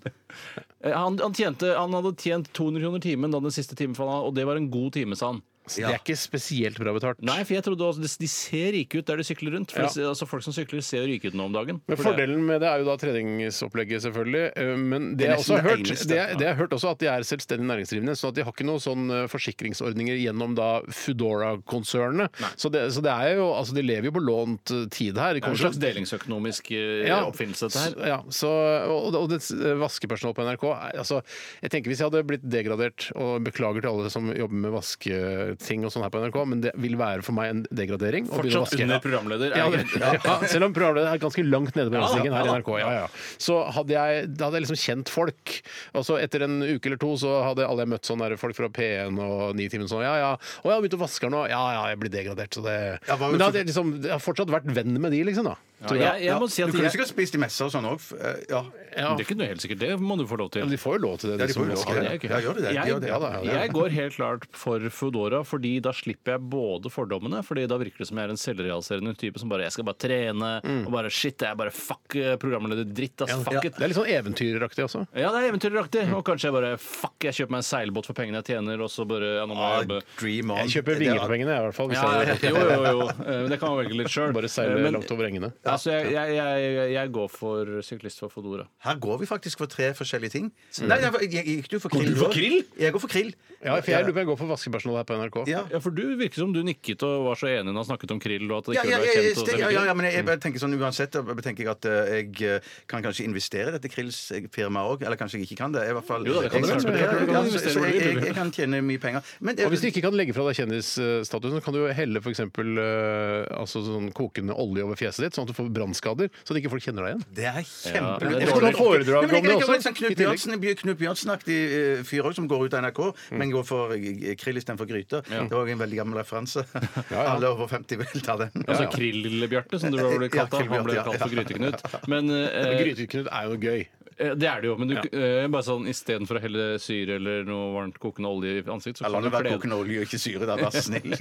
Eh, Han, han, tjente, han hadde tjent 200 kroner timen da den siste timen, for han, og det var en god time, sa han. Så Det er ikke spesielt bra betalt. Nei, for jeg trodde også, de- de ser rike ut der de sykler rundt. For Ja. det- altså, Folk som sykler, ser rike ut nå om dagen. Men For det- fordelen med det er jo da treningsopplegget, selvfølgelig. eh, Men det, er jeg også har nesten det hørt, eneste. det, er- det jeg har hørt også at de er selvstendig næringsdrivende. Så at de har ikke noen sånn eh, forsikringsordninger gjennom da Foodora-konsernet. Så, det- så det er jo Altså, de lever jo på lånt eh, tid her. Det er en slags delingsøkonomisk eh, oppfinnelse, dette her. s- Ja, så, og, og det vaskepersonell på NRK er- altså, Jeg tenker Hvis jeg hadde blitt degradert og Beklager til alle som jobber med vasketing og sånn her på NRK, men det vil være for meg en degradering. å begynne å Fortsatt vaske. under programleder. er Ja, det det, greit? ja, selv om programmet er ganske langt nede på rangstigen her i ja, NRK. Ja, ja. Så hadde jeg, da hadde jeg liksom kjent folk. Og så etter en uke eller to så hadde alle jeg møtt sånne der folk fra P1 og Nitimen sånn Ja, ja. Å, jeg har begynt å vaske her nå. Ja, ja, jeg blir degradert, så det Ja, hva- Men da hadde jeg liksom jeg har fortsatt vært venn med de, liksom, da. Tror jeg. Jeg, jeg må si Du at kunne jeg, sikkert spist i messer og sånn òg. Ja. Ja. Det er ikke noe helt sikkert. Det må du få lov til. Men de får jo lov til det, de, de som får jo lov til vasker. det. Det er ikke- Ja, gjør det det? Jeg, Gjør det, ja da, ja da. jeg går helt klart for Foodora, fordi da slipper jeg både fordommene, fordi da virker det som jeg er en selvrealiserende type som bare Jeg skal bare trene, og bare shit, jeg er bare fuck eh, programleder dritt, ass, fuck it. Det er litt sånn eventyreraktig også. Ja, det er eventyraktig. Og kanskje jeg bare fuck, jeg kjøper meg en seilbåt for pengene jeg tjener, og så bare ja, nå må jeg jobbe. Dream on. Jeg kjøper Det er- vinger for pengene, jeg, i hvert fall. Hvis Ja, jeg hadde jo, jo, jo. Eh, Det kan man velge litt sjøl. bare seiler langt over engene. Altså, jeg, jeg, jeg, jeg går for syklist for Foodora. Her går vi faktisk for tre forskjellige ting. Nei, nei, jeg, jeg, gikk du for krill? du for også? krill? Jeg går for krill. Mm. Ja, for jeg lurer på om jeg går for vaskepersonell her på NRK. Ja. Ja, for du virker som du nikket og var så enig når han snakket om krill. og at det Ja, ikke ja, ble ja, kjent. ja, Og så ja, videre. ja, ja, men jeg, jeg Mm. bare tenker sånn uansett jeg bare tenker at eh, jeg eh, kan kanskje investere i dette krillsfirmaet òg. Eller kanskje jeg ikke kan det. Jeg, i hvert fall, Jo da, det kan jeg, du jeg, kanskje. jeg, Du kan så- investere så hvor du jeg, vil. jeg, jeg kan tjene mye penger. Men Og hvis du ikke kan legge fra deg kjendisstatusen, så kan du jo helle f.eks. Øh, altså sånn kokende olje over fjeset ditt, sånn at du får brannskader, så at ikke folk kjenner deg igjen. det er det er kjempelurt. dårlig. Jeg skulle hatt Foredrag Nei, men jeg om det liker også, litt sånn i Knut tillegg. Bjørnsen, Knut Bjørnsen-aktig eh, fyr også, som går ut av NRK, men går for eh, krill istedenfor gryte. Det var jo en veldig gammel referanse. Alle over 50 vil ta den. Altså Krill-Bjarte, som du ble Ja, kalt da. Han ble Krill-Bjarte, kalt for ja. Gryteknut. Men eh, Gryteknut er jo gøy. eh, det er det jo. Men du, eh, bare sånn istedenfor å helle syre eller noe varmt kokende olje i ansiktet, så La det kan du være kle kokende olje og ikke syre, da. Vær snill.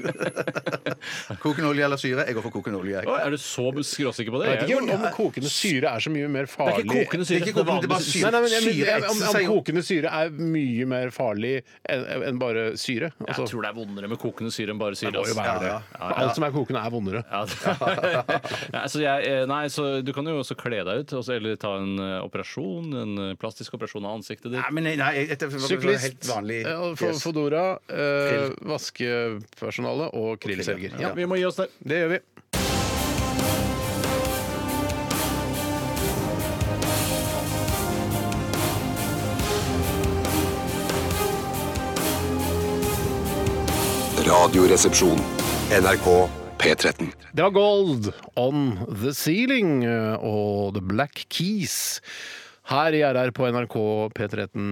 kokende olje eller syre? Jeg går for kokende olje. jeg. Å, Er du så skråsikker på det? Jeg vet Jeg- ikke om kokende syre er så mye mer det er farlig. ikke kokende syre. Det er ikke kokende, det er bare vanlig syre. Nei, nei, men jeg, men, Syre om, etser seg om jo. kokende syre er mye mer farlig enn enn bare syre. Altså, Jeg tror det er vondere med kokende syre enn bare syre. det må jo ass. være det. Ja, Alt som er kokende, er vondere. Ja, det- Ja, altså jeg, eh, nei, så du kan jo også kle deg ut, også, eller ta en eh, operasjon, en eh, plastisk operasjon av ansiktet ditt. Nei, men nei, nei, jeg- dette var bare helt Syklist, vanlig eh, og fjes. Fodora, eh, vaskepersonale og krillselger. Ja, Vi må gi oss der. det gjør vi. Radioresepsjon. NRK P13. Det var Gold on the ceiling eh, og The Black Keys. Her i RR på NRK P13.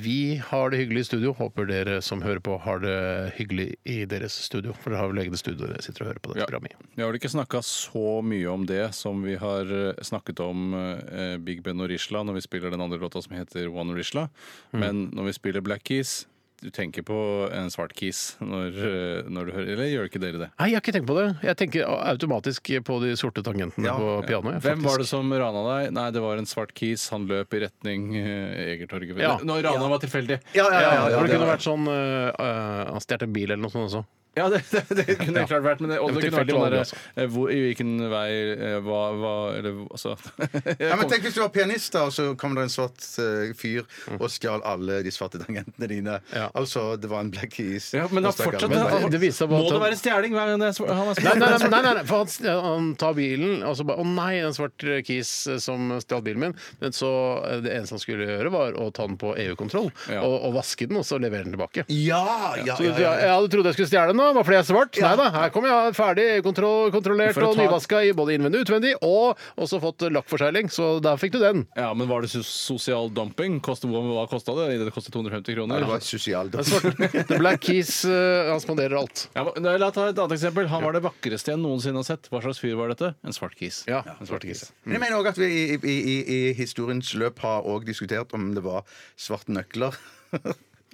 Vi har det hyggelig i studio. Håper dere som hører på, har det hyggelig i deres studio. For dere har vel egne studio dere sitter og hører på dette Ja. programmet i. Vi har vel ikke snakka så mye om det som vi har eh, snakket om eh, Big Ben og Rishla når vi spiller den andre låta som heter One Rishla. Men når vi spiller Black Keys du tenker på en svart keys når, eh, når du hører Eller gjør ikke dere det? Nei, jeg har ikke tenkt på det. Jeg tenker automatisk på de sorte tangentene på pianoet. Hvem var det som rana deg? Nei, det var en svart keys. Han løp i retning eh, Egertorget. Ja. Når rana var tilfeldig. Ja, ja, ja, ja, ja, For det det kunne var- vært sånn øh, øh, Han stjal en bil eller noe sånt også. Ja, det, det, det kunne Ja. klart vært men det, og Det var det kunne vært tilfeldig sånn valg, derre, altså. eh, hvor- I hvilken vei eh, hva, hva Eller altså Ja, men tenk hvis du var pianist, da, og så kom det en svart eh, fyr og stjal alle de svarte tangentene dine. Ja. Altså, det var en black keys. Ja, men da Og stakkaren fortsatt med deg. Men det viser seg bare Må at det han- være stjeling hver gang det er sv- han Nei, er svart? nei, nei, nei, nei, nei, for han, st- han tar bilen, og så bare Å nei, en svart eh, kis eh, som stjal bilen min. Men så eh, det eneste han skulle gjøre, var å ta den på EU-kontroll Ja. og, og vaske den, og så levere den tilbake. Ja, ja, Så du, ja, ja, ja. ja, du trodde jeg skulle stjele den, da, bare fordi jeg er svart? Nei da, her kommer jeg ferdig EU-kontroll- kontrollert For å og ta- nyvaska i både innvendig og utvendig, og også fått lakkforsegling, så der fikk du den. Ja, men var det sos- sosial dumping? Koste, hva hva kosta det? Det kostet 250 kroner. Det var sosial Den svarte- The Black Keys eh, han spanderer alt. Ja, men, nei, la meg ta et annet eksempel. Han var det vakreste jeg noensinne har sett. Hva slags fyr var dette? En svart kis. Ja, en svart kis. Men jeg mener også at vi i, i, i, i historiens løp har også diskutert om det var svarte nøkler.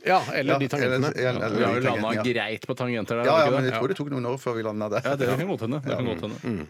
Ja, eller Ja, de tangentene. eller- eller- Vi har jo eller- landa ja. greit på tangenter der. Ja, har vi ja, ikke men Mm. jeg det? tror det tok noen år før vi landa der. ja, det kan godt hende. Det kan godt hende.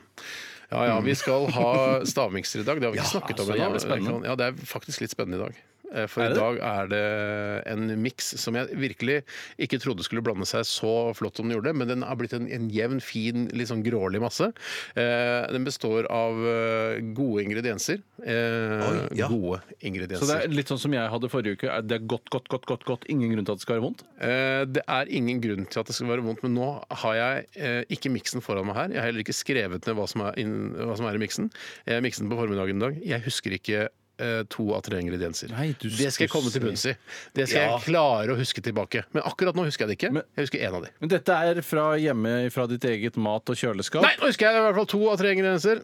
Ja, ja, Vi skal ha stavmikser i dag. Det har vi ikke snakket om Mm. så ennå. jævlig spennende. Ja, det er faktisk litt spennende i dag. Eh, For i det det? dag er det en miks som jeg virkelig ikke trodde skulle blande seg så flott som den gjorde, men den har blitt en, en jevn, fin, litt sånn grålig masse. Eh, den består av eh, gode ingredienser. Eh, Oi, ja. Gode Så det ingredienser. er litt sånn som jeg hadde forrige uke. Er Det er godt, godt, godt, godt, godt. Ingen grunn til at det skal være vondt. Eh, Det er ingen grunn til at det skal være vondt, men nå har jeg eh, ikke miksen foran meg her. Jeg har heller ikke skrevet ned hva som er, inn, hva som er i miksen. Jeg miksen på formiddagen i dag. Jeg husker ikke eh, to av tre ingredienser. Nei, du det skal jeg komme til bunns i. Det skal Ja. jeg klare å huske tilbake. Men akkurat nå husker jeg det ikke. Men- jeg husker én av de. Men dette er fra hjemme fra ditt eget mat- og kjøleskap. Nei, nå husker jeg i hvert fall to av tre ingredienser.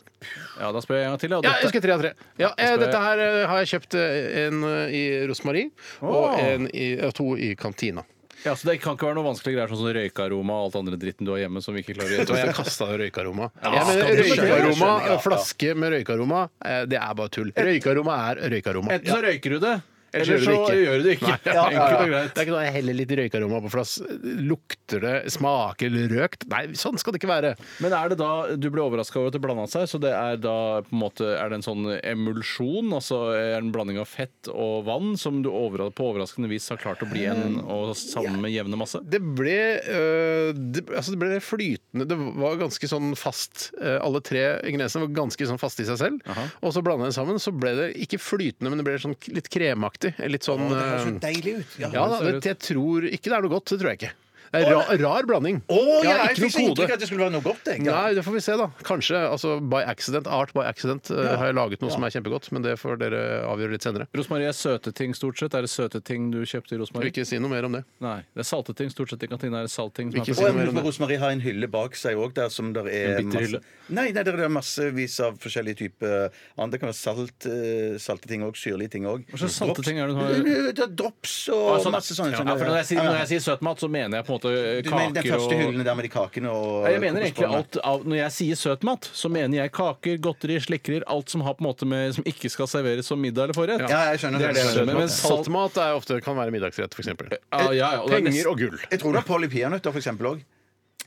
Ja, da spør jeg en gang til. ja. Ja, jeg Dette- husker tre av tre. Ja, eh, skal jeg- dette her eh, har jeg kjøpt eh, en eh, i Rosmarie og Åh. en i, eh, to i kantina. Ja, så Det kan ikke være noe vanskelige greier sånn som røykearoma og alt andre dritten du har hjemme som vi ikke klarer å Vet du hva, gjette. jeg kasta røykaroma. Ja, Jeg mener, skal du røykaroma, skjønne, ja. Flaske med røykaroma, eh, det er bare tull. Røykaroma er røykaroma. Enten så røyker du det, Ellers eller så gjør du det ikke. gjør du det ikke. Nei, Enkelt og Det greit. er ikke noe jeg heller litt røykaroma på plass. Lukter det, smaker det røkt? Nei, sånn skal det ikke være. Men er det da, du ble overraska over at det blanda seg, så det er da på en måte, er det en sånn emulsjon, altså er det en blanding av fett og vann, som du overra- på overraskende vis har klart å bli Eh, en og samme jevne masse? Det ble, øh, det, altså det ble flytende. Det var ganske sånn fast. øh, alle tre ingrediensene var ganske sånn faste i seg selv. Og så blanda jeg det sammen, så ble det ikke flytende, men det ble sånn litt kremaktig. Litt sånn Det høres så øh, deilig ut. Ja. Ja da, det, jeg tror ikke det er noe godt. Det tror jeg ikke. Det er ra, rar blanding. Å ja, Ja, jeg ikke fikk så noe kode. inntrykk av at det skulle være noe godt. Jeg. Ja. Nei, det får vi se, da. Kanskje. altså By accident, art by accident øh, har jeg laget noe som er kjempegodt, men det får dere avgjøre litt senere. Rosmarie er søte ting stort sett. Er det søte ting du kjøpte i Jeg Rosmarie? vil ikke si noe mer om det. Nei. Det er salte ting stort sett i kantina. Er det salt ting som Ikke er si Og på noe mer jeg om lurer på det. Rosmarie har en hylle bak seg òg, der som der er En bitter hylle? Nei, nei, der er det massevis av forskjellige typer annet. Det kan være salt, eh, salte ting òg, syrlige ting òg. Hva slags salte ting er det hun har? har? Drops og sånn, masse sånne. ja, sånne- for når jeg, sier, når Ja, jeg sier søt mat, så mener jeg på en måte eh, du mener den kaker første og hyllene der med de kakene og Nei, Jeg mener egentlig kokosbollene. alt av, Når jeg sier søtmat, så mener jeg kaker, godteri, slikkerier, alt som har på en måte med Som ikke skal serveres som middag eller forrett. Ja, jeg skjønner. Det er det jeg jeg, skjønner. skjønner. Men salt- Saltmat er ofte, kan være middagsrett, f.eks. Eh, Ja, ja, ja, og det er Penger nesten- og gull. jeg tror du har Polly peanøtter, for eksempel òg.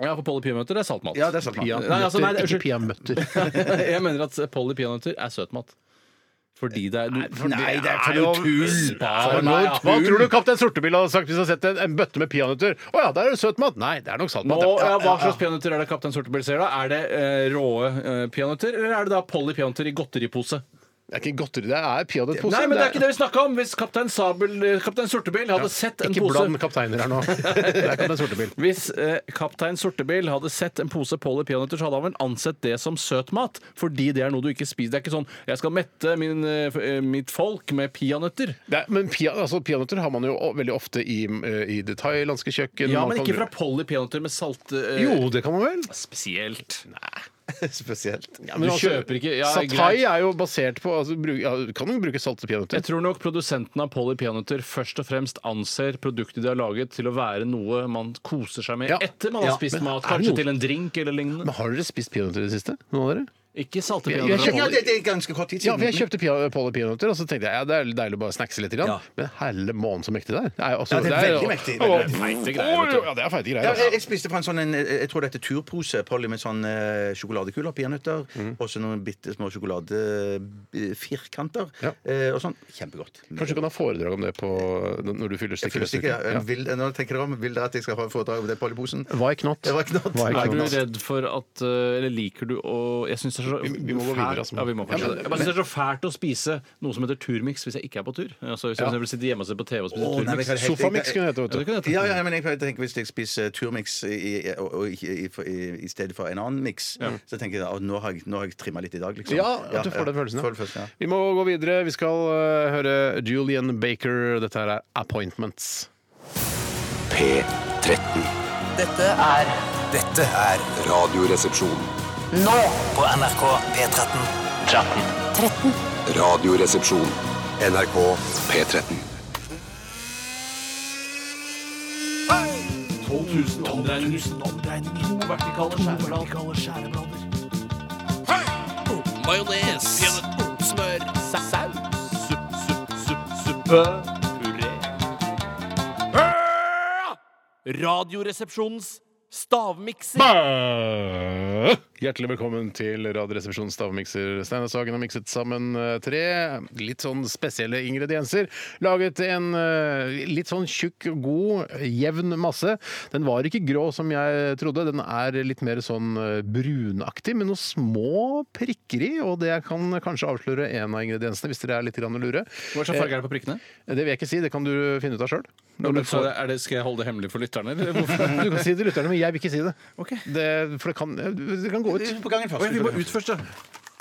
ja, på Polly peanøtter er saltmat. Ja, det er sant. Ja, Nei, altså, nei, det- ikke peanøtter. jeg mener at Polly peanøtter er søtmat. Fordi det er Nei, det er for jo noe tull! Spar Hva meg, ja. hva tror du kaptein Sortebil hadde sagt hvis han hadde sett en, en bøtte med peanøtter? Å ja, der er det søt mat. Nei, det er nok Nå, saltmat. ja. ja, Hva slags peanøtter er det Kaptein Sortebell ser da? Er det eh, råe eh, peanøtter, eller er det da Polly peanøtter i godteripose? Det er ikke godteri, det er peanøttpose. Nei, men det er ikke det vi snakka om! Hvis Kaptein, Sabel, eh, Kaptein Sortebil hadde sett en Ikke pose bland kapteiner her nå. Det er kaptein Sortebil. Hvis eh, kaptein Sortebil hadde sett en pose Polly peanøtter, så hadde han vel ansett det som søtmat. Fordi det er noe du ikke spiser. Det er ikke sånn 'jeg skal mette min, eh, f- eh, mitt folk med peanøtter'. Det er, men pia, altså, peanøtter har man jo o- veldig ofte i, eh, i det thailandske kjøkken. Ja, Man kan men ikke fra bruke- Polly peanøtter med salt eh, Jo, det kan man vel? Spesielt. Spesielt. Ja, men Du altså, kjøper ikke- ja, Sat thai er jo basert på altså, bruk, ja, Du kan jo bruke salte Jeg peanøtter. tror nok produsenten av Polly peanøtter først og fremst anser produktet de har laget, til å være noe man koser seg med Ja. etter man har Ja, spist men mat. er det Kanskje noe- til en drink eller lignende. Men har dere spist peanøtter i det siste? Noen av dere? Ikke salte Jeg- jeg peanøtter. kjøper- Ja, det, det er ganske kort tid Ja, for siden. jeg kjøpte pia- Polly peanøtter, og så tenkte jeg ja, det er deilig å bare snackse litt. Grann. Men helle månen så mektig det er. Det er, jo også, Ja, det jo- er veldig mektig, Å, veldig feite greier, vet du. å, Ja, det er feite Ja, greier. jeg, altså. jeg spiste fra en sånn en, jeg jeg tror det er turpose Polly med sånn eh, sjokoladekuler, peanøtter, Mm. og så noen bitte små sjokoladefirkanter. Ja. Eh, og sånn. Kjempegodt. Kanskje du kan ha foredrag om det på, når du fyller Jeg stykket føler neste ikke, uke? Ja. jeg vil, nå tenker dere om, vil dere at jeg skal få foredrag om det Polly-posen? Why not? Det var knott. Why Er not? du redd for at eh, Eller liker du å Jeg syns det er så Vi- vi må gå videre, altså. Ja, vi må kanskje Ja, men- det. Jeg bare synes det er så fælt å spise noe som heter turmix hvis jeg ikke er på tur. Altså, hvis jeg for eksempel sitter hjemme og ser på TV og spiser Å, nei, men turmix. jeg kan helt- Sofamix kunne det hete, Ja, det vet du. kan jeg ta. Ja, ja, men jeg pleier å tenke hvis jeg spiser turmix i, i- og, og, ikke- i, i, i stedet for en annen mix, så tenker jeg at nå har jeg, nå har jeg trimma litt i dag, liksom. Ja, at du får den følelsen. Får den følelsen, Ja. ja. Vi må gå videre. Vi skal eh, høre Julian Baker. Dette her er 'Appointments'. P13. Dette er Dette er Radioresepsjon. Nå på NRK P13. 13. Radioresepsjon. NRK P13. 12 000 omdreininger. To vertikale skjæreblader. Majones. Smør. Saus. Supp, supp, supp, suppe. Puré. Radioresepsjonens stavmikser. Hjertelig velkommen til Radioresepsjonens stavmikser. Steinar Sagen har mikset sammen eh, tre litt sånn spesielle ingredienser. Laget en eh, litt sånn tjukk, god, jevn masse. Den var ikke grå som jeg trodde. Den er litt mer sånn eh, brunaktig, med noen små prikker i. Og det kan kanskje avsløre en av ingrediensene, hvis dere er litt grann lure. Hva slags farge er det på prikkene? Eh, Det vil jeg ikke si, det kan du finne ut av sjøl. Så er det, skal jeg holde det hemmelig for lytterne? Eller hvorfor? Du kan si det til lytterne, men jeg vil ikke si det. Ok. det for det kan, det kan gå ut. På gangen først. Jeg vil bare ut først, da.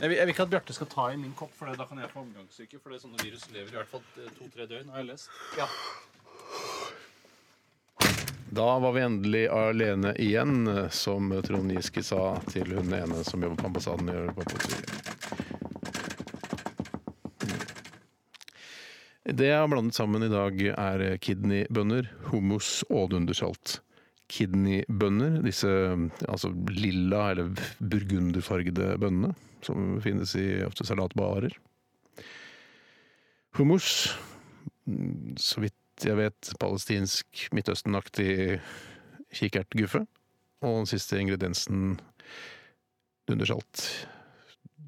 Jeg vil, jeg vil ikke at Bjarte skal ta i min kopp, for da kan jeg få omgangssyke. For det er sånne virus lever i hvert fall to-tre døgn, har jeg lest. Da var vi endelig alene igjen, som Trond Giske sa til hun ene som jobber på ambassaden. i Europa på Syria. Det jeg har blandet sammen i dag, er kidneybønner, hummus og dundersalt. Kidneybønner, disse altså lilla eller burgunderfargede bønnene som finnes i ofte salatbarer. Hummus så vidt jeg vet, palestinsk, midtøstenaktig kikertguffe. Og den siste ingrediensen dundersalt.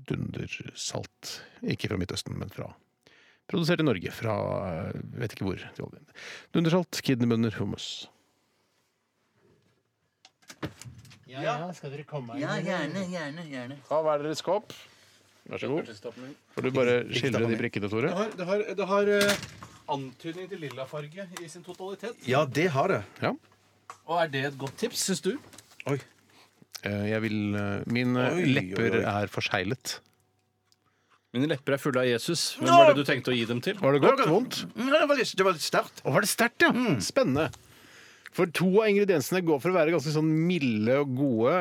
Dundersalt. Ikke fra Midtøsten, men fra Produsert i Norge, fra eh, vet ikke hvor. til oljen. Dundersalt, kidneybønner, hummus. Ja, skal dere komme inn? Ja, gjerne, gjerne, gjerne. Ta hver deres kopp. Vær så god. Får du bare skildre de prikkene, Tore? har, det har, det har eh, antydning til lillafarge i sin totalitet. Ja, det har det. Ja. Og er det et godt tips, syns du? Oi. Eh, Jeg vil, eh, mine Oi, lepper oi, oi. er forseglet. Mine lepper er fulle av Jesus. Hvem var det du tenkte å gi dem til? Var det godt? Vondt? Mm, Det var litt, det var litt sterkt. Og var det sterkt, ja? Spennende. For to av ingrediensene går for å være ganske sånn milde og gode,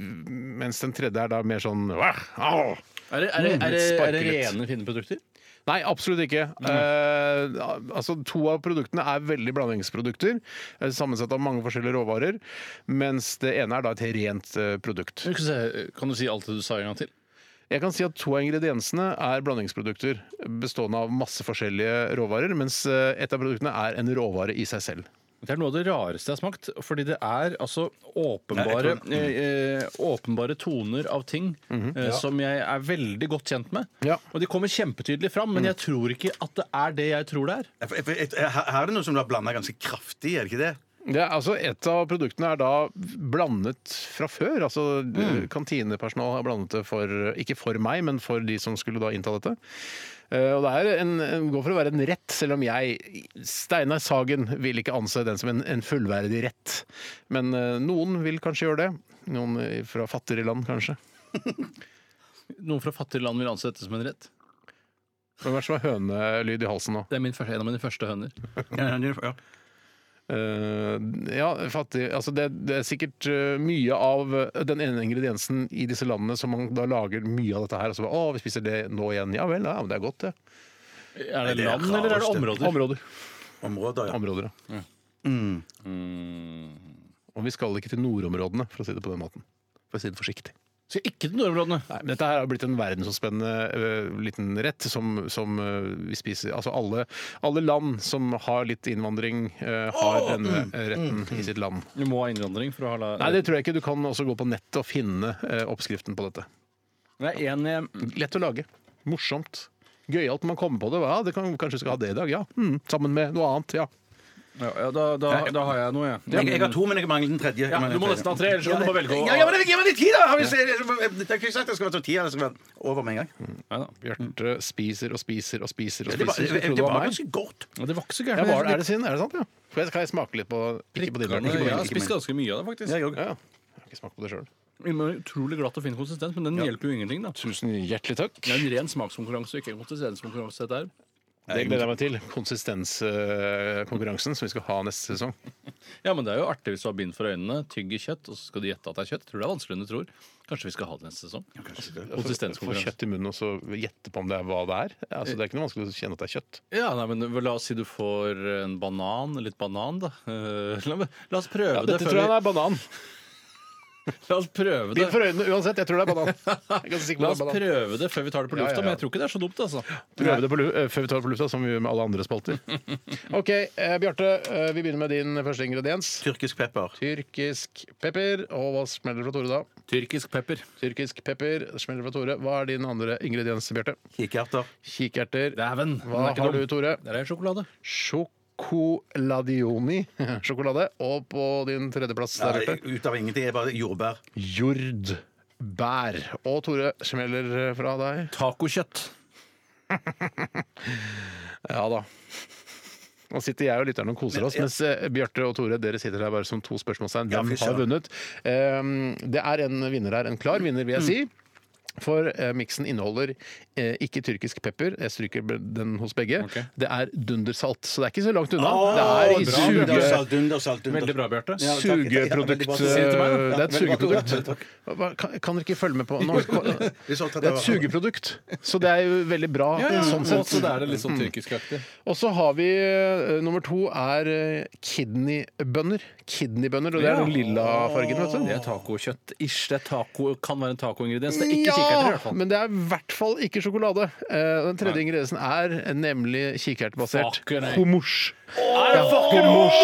mens den tredje er da mer sånn «Wah! Au!» Er det, er det, er det, er det Sparker litt. rene, fine produkter? Nei, absolutt ikke. Eh, altså, to av produktene er veldig blandingsprodukter, eh, sammensatt av mange forskjellige råvarer, mens det ene er da et rent eh, produkt. Kan du si alt det du sa en gang til? Jeg kan si at To av ingrediensene er blandingsprodukter bestående av masse forskjellige råvarer, mens eh, et av produktene er en råvare i seg selv. Det er noe av det rareste jeg har smakt, fordi det er altså åpenbare, eh, eh, åpenbare toner av ting eh, som jeg er veldig godt kjent med. Ja. Og de kommer kjempetydelig fram, men jeg tror ikke at det er det jeg tror det er. Jeg- jeg- jeg- jeg- Her her er det noe som du har blanda ganske kraftig, er det ikke det? Det er, altså, et av produktene er da blandet fra før. Altså, Kantinepersonal har blandet det for ikke for meg, men for de som skulle da innta dette. Eh, og det er en, en, går for å være en rett, selv om jeg, Steinar Sagen, vil ikke anse den som en, en fullverdig rett. Men eh, noen vil kanskje gjøre det. Noen eh, fra fattigere land, kanskje. Noen fra fattige land vil anse dette som en rett. Hvem er det som har hønelyd i halsen nå? Det er min første, en av mine første høner. Ja, ja, ja. Eh, ja, fattig altså det, det er sikkert eh, mye av eh, den ene ingrediensen i disse landene som man da lager mye av dette her. Og så bare, å, vi spiser det nå igjen. Ja vel, ja, men det er godt, det. Er det det er land, eller er det rareste. områder? Områder. Områder, ja. områder ja. Mm. Og vi skal ikke til nordområdene, for å si det på den måten. For å si det forsiktig. Skal ikke til nordområdene. Nei, men dette her har blitt en verdensomspennende ø, liten rett som, som ø, vi spiser. Altså alle, alle land som har litt innvandring, ø, har denne retten i sitt land. Du må ha innvandring for å ha la... mm, Nei, det tror jeg ikke. Du kan også gå på nettet og finne eh, oppskriften på dette. Det er en eh, mm. jeg Lett å lage. Morsomt. Gøyalt når man kommer på det. Ja, det kan, kanskje vi skal ha det i dag. Ja. Mm, sammen med noe annet. Ja. ja, ja, da, da, da har jeg noe, jeg. Jeg, jeg har to, men jeg mangler den tredje. Jeg Ja, mangler den du må tredje. nesten ha tre, ellers Ja, kan du bare velge å ja, ja, men det- Gi meg litt tid, da! Har vi- Jeg jeg har ikke sagt det skal være sånn ti, det skal være over med en gang. Nei da. Bjarte spiser og spiser og spiser og Det var, spiser. Jeg det, trodde det det var var meg. ganske godt. Ja, Det var ikke så gærent. Ja, var, det- er det sin? Er det sant? Ja. For jeg, kan jeg smake litt på Ikke på din, Bjarte. Ikke på Jeg din. har spist ganske mye av det, faktisk. Jeg òg. Ja, ja. Jeg har ikke smakt på det sjøl. Innmari Utrolig glatt og fin konsistens, men den hjelper jo ingenting. da Tusen hjertelig takk. Det er en ren smakskonkurranse, ikke en konsistenskonkurranse. dette her. Det gleder jeg meg til. Konsistenskonkurransen som vi skal ha neste sesong. Ja, men Det er jo artig hvis du har bind for øynene, tygger kjøtt, og så skal de gjette at det er kjøtt. Tror det er vanskeligere enn du tror. Kanskje vi skal ha det neste sesong? Få Konsistenskonkurranse. kjøtt i munnen og så gjette på om det er hva det er. Altså, det er ikke noe vanskelig å kjenne at det er kjøtt. Ja, nei, men La oss si du får en banan. Litt banan, da. Eh, La, la oss prøve det Dette før tror jeg vi er banan. La oss prøve Bind for det. øynene uansett. Jeg tror det er banan. Jeg er ganske sikker på La at det oss er banan. prøve det før vi tar det på Ja, ja, lufta, ja. men jeg tror ikke det er så dumt, altså. Prøve det på lu eh, før vi tar det på lufta, som vi gjør med alle andre spalter. OK, eh, Bjarte. Eh, vi begynner med din første ingrediens. Tyrkisk pepper. Tyrkisk pepper. Og hva smeller det fra Tore da? Tyrkisk pepper. Tyrkisk pepper smeller fra Tore. Hva er din andre ingrediens, Bjarte? Kikerter. Kikerter. Dæven. den Hva er ikke har du, dum. Tore? Der er sjokolade. Sjokoladioni. Sjokolade. Og på din tredjeplass, der, Bjarte. Ut av ingenting. Jeg bare jordbær. Jordbær. Og Tore smeller fra deg. Tacokjøtt. Ja da. Nå sitter jeg og lytteren og koser oss, mens eh, Bjarte og Tore dere sitter her bare som to spørsmålstegn. Ja, Hvem fy har søren. vunnet? Ehm, Det er en vinner her. En klar vinner, Mm. vil jeg si. For eh, miksen inneholder eh, ikke tyrkisk pepper. Jeg stryker b- den hos begge. Det er dundersalt, så det er ikke så langt unna. det er i Bra, suge... Dundersalt, dundersalt, dundersalt. Veldig bra, Bjarte. Ja, takk. Sugeprodukt Ja, veldig bra. eh, Si det til meg, da. Det er et Ja, veldig bra. Ja, sugeprodukt. takk. Hva- Kan, kan dere ikke følge med på Nå, det Vi så at det er var- et sugeprodukt, så det er jo veldig bra. Ja, ja. sånn sett. Også der er det litt sånn tyrkiskaktig. Og så har vi eh, nummer to er eh, kidneybønner. Kidneybønner, og det er den lilla fargen, vet du. Det er tacokjøtt-ish. Det er taco, kan være en tacoingrediens. Det er ikke kikkerter, i hvert fall. men det er i hvert fall ikke sjokolade. Eh, Den tredje Nei. ingrediensen er nemlig kikertbasert Fucker, nei. hummus. Er det fucker homos,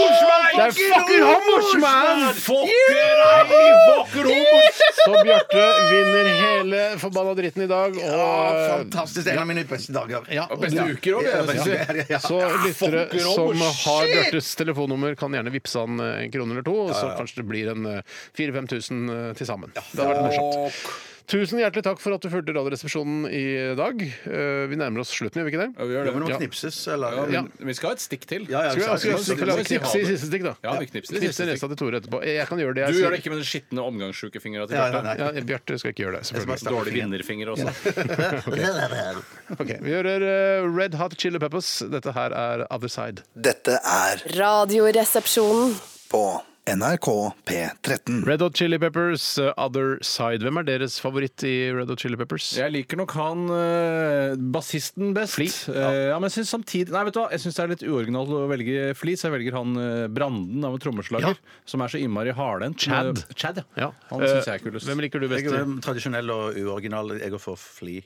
Det er fucker hummus, man! Fucker Fucker homos! Så Bjarte vinner hele forbanna dritten i dag. Å, Og eh, Fantastisk. En av mine beste dager. ja, og Beste uker òg, Ja, vil jeg si. ja, ja, ja. Så lyttere fucker som oh, hommus, har shit! Bjørtes telefonnummer, kan gjerne vippse han eh, en krone eller to, og så kanskje det blir en eh, 4000-5000 eh, til sammen. Det hadde vært morsomt. Tusen hjertelig takk for at du fulgte Radioresepsjonen i dag. Eh, Vi nærmer oss slutten, gjør vi ikke det? Ja, vi gjør Ja, men det det. må knipses, eller? Ja, men vi skal ha et stikk til. Ja, ja, Skal vi, skal vi, skal vi vi, skal- lage knipse i siste stikk, da? Ja, vi knipser i siste Knipse nesa til Tore etterpå. Jeg kan gjøre det. jeg Du gjør sier. det ikke med den skitne omgangssjukefingera til Ja, nei, Bjarte. nei. Ja, Bjarte skal ikke gjøre det. Jeg skal bare selvfølgelig. snakke Dårlig fint. vinnerfinger også. Ok, Vi hører eh, Red Hot Chili Peppers. Dette her er Other Side. Dette er Radioresepsjonen. på NRK P13. Red Hot Chili Peppers, eh, Other Side. Hvem er deres favoritt i Red Hot Chili Peppers? Jeg liker nok han eh, bassisten best. Flis, Ja. ja, men jeg synes samtidig Nei, vet du hva, jeg syns det er litt uoriginalt å velge Flis. Jeg velger han eh, Branden av en trommeslager som er så innmari hardhendt. Chad. Eh, Chad, ja. Ja. Han syns Eh, jeg er kulest. Hvem liker du Jeg best? er i- um, tradisjonell og uoriginal. Jeg går for Fli.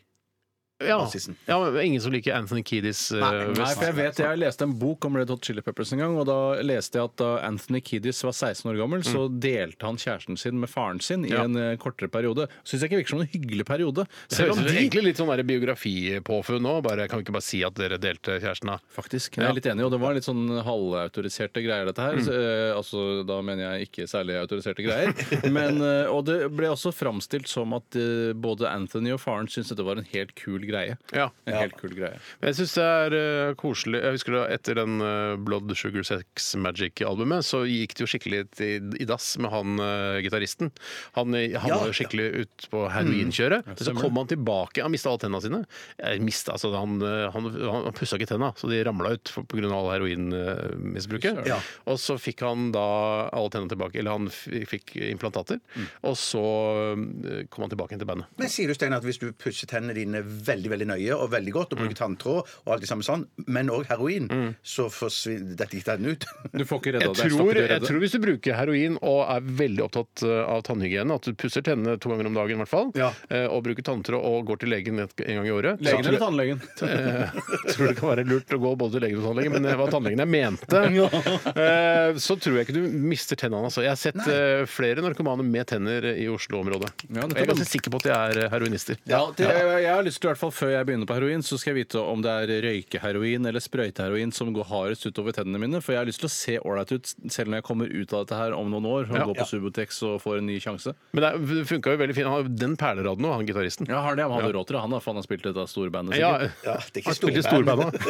Ja. bassisten. ja, men ingen som liker Anthony Kiedis eh, Nei, best. for jeg vet jeg leste en bok om Red Hot Chili Peppers en gang, og da leste jeg at da Anthony Kiddis var 16 år gammel, så delte han kjæresten sin med faren sin i Mm. Ja. en eh, kortere periode. Syns jeg ikke virker som en hyggelig periode. Det Selv om høres de egentlig litt sånn der biografipåfunn nå. Bare, kan vi ikke bare si at dere delte kjæresten, da? Faktisk. Jeg er litt enig, og det var litt sånn halvautoriserte greier, dette her. Så, eh, altså, da mener jeg ikke særlig autoriserte greier. Men, eh, og det ble også framstilt som at eh, både Anthony og faren syntes dette var en helt kul greie. Ja. En helt kul greie. Men Jeg syns det er eh, koselig. Jeg husker da Etter den eh, Blood Sugar Sex Magic-albumet så gikk det jo skikkelig i, i dass med han eh, gitaristen. Han, eh, han Ja, Mm. var jo skikkelig ut på heroinkjøret. Men så kom han tilbake. Han mista alle tenna sine. Eh, mistet, altså, han eh, han, han, han pussa ikke tenna, så de ramla ut pga. all heroinmisbruket. Ja. Og så fikk han da alle tenna tilbake. Eller han f- fikk implantater. Mm. Og så eh, kom han tilbake igjen til bandet. Men sier du, Steinar, at hvis du pusser tennene dine veldig veldig nøye og veldig godt, og bruker Mm. tanntråd og alt det samme sånn, men òg heroin, så forsvinner dette ikke tennene ut? Du får ikke redda Jeg deg. stopper tror, du å jeg redde. tror hvis du bruker heroin og er veldig opptatt eh, av tannhygiene, at du pusser tennene to ganger om dagen i hvert fall, Ja. eh, og bruker tanntråd og går til legen et- en gang i året så Legen tror eller jeg- tannlegen? eh, tror det kan være lurt å gå både til legen og tannlegen, men det var tannlegen jeg mente. Eh, Så tror jeg ikke du mister tennene. Altså. Jeg har sett eh, flere narkomane med tenner i Oslo-området. Ja, Og nettopp. jeg er ganske sikker på at de er eh, heroinister. Ja, det, jeg, jeg har lyst til, i hvert fall Før jeg begynner på heroin, så skal jeg vite om det er røykeheroin eller sprøyteheroin som går hardest utover tennene mine. For jeg har lyst til å se ålreit ut selv når jeg kommer ut av dette her om noen år og Ja. går på Subutex og får en ny sjanse. Men det funka jo veldig fint. Han har jo den perleraden nå, han gitaristen. Ja, har det, Han hadde råd til det, han da, for han har spilt i dette storbandet. Ja, sikkert. Ja, det er ikke han spiller i storband òg.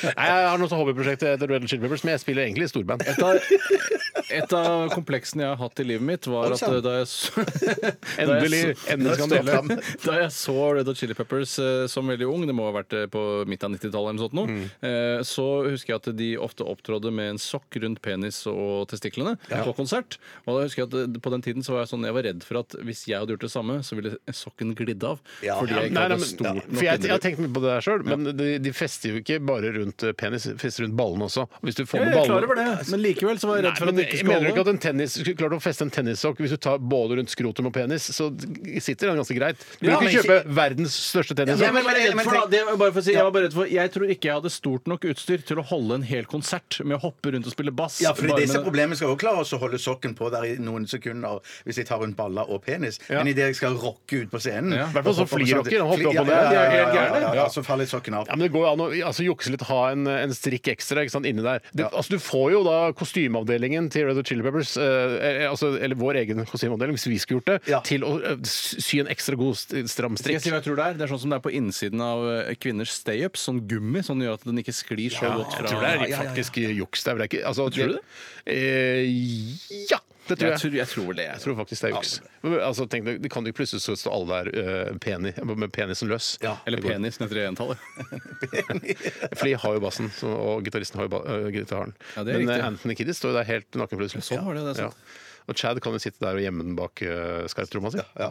Jeg har noe hobbyprosjekt etter Red Chili Peppers, men jeg spiller egentlig i storband. Et av, et av kompleksene jeg har hatt i livet mitt, var Oi, at sann. da jeg så, Endelig- endelig skal han dele. Da jeg så Red Hot Chili Peppers eh, som veldig ung, det må ha vært eh, på midten av 90-tallet, eller noe sånt nå, eh, så husker jeg at de ofte opptrådde med en sokk rundt penis og testiklene på konsert. Og da husker jeg at eh, på den tiden så var jeg sånn, jeg var redd for at hvis jeg hadde gjort det samme, så ville sokken glidde av. Ja. Fordi Ja, jeg ikke Nei, nei, hadde men, stort nok for jeg, jeg har underliv. tenkt mye på det her sjøl, men de, de fester jo ikke bare rundt eh, penis, de fester rundt ballene også. Hvis du får Jeg med er klar ballene over det, men likevel så var jeg Nei, redd for at men det ikke i mener du skallet. ikke at en tennis skulle klart å feste en tennissokk hvis du tar både rundt skrotum og penis, så d- sitter den ganske greit. Du Ja, kan men ikke kjøpe verdens største Ja, tennissokk. men jeg var redd for, da, det var bare for å si, jeg var bare redd for Jeg tror ikke jeg hadde stort nok utstyr til å holde en hel konsert med å hoppe rundt og spille bass. Ja, fordi Bare disse med- problemene skal jo klare oss å holde sokken på der i noen sekunder hvis jeg tar rundt baller og penis. Men idet jeg skal rocke ut på scenen Ja. og Hvertfall sånn hoppe opp og flirocker, han hopper Fli- opp og ja, ned, de ja, er ja, helt ja, gærne. ja, ja, Så faller sokken av. Ja, men Det går jo an å altså, jukse litt, ha en, en strikk ekstra ikke sant, inni der. Du, altså, du får jo da kostymeavdelingen til Red Hot Chili Peppers, eh, eh, altså, eller vår egen kostymeavdeling, hvis vi skulle gjort det, Ja. til å eh, sy en ekstra god st- stram Skal jeg si strikk. hva jeg tror det er? Det er sånn som det er på innsiden av eh, kvinners stay-ups. Sånn gummi som gjør at den ikke sklir så godt fra Jeg tror det er faktisk juks der. men det er ikke- Altså, Tror du det? Eh, ja, det tror jeg. Jeg tror, jeg tror det. Jeg tror faktisk det er juks. Men, Altså, tenk deg, det kan jo plutselig så stå alle der eh, peni, med penisen løs. Eller penis, den heter i entallet. Fordi jeg har jo bassen, så, og gitaristen har jo ba øh, gitaren. Ja, det er Men riktig. eh, Anthony Kiddis står jo der helt naken plutselig. sånn var det, det er sant. Og Chad kan jo sitte der og gjemme den bak uh, skarptromma si. Ja.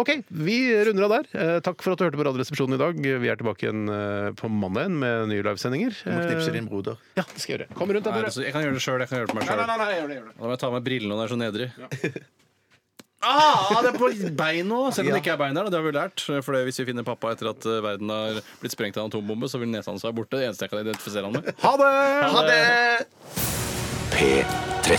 OK, vi runder av der. Eh, takk for at du hørte på Radioresepsjonen i dag. Vi er tilbake igjen eh, på mandag igjen med nye livesendinger. Du må knipse Eh, din broder. ja, det skal jeg gjøre. Kom rundt, da, Nei, Tore. altså, jeg kan gjøre det sjøl. Jeg kan gjøre det på meg sjøl. Da må jeg ta av meg brillene, og det er så nedrig. Ah, det er på beina! Selv om det ikke er beina. da, Det har vi lært. For hvis vi finner pappa etter at eh, verden har blitt sprengt av en atombombe, så vil nesa hans være borte. Det eneste jeg kan identifisere han med. Ha det! Ha det! P13.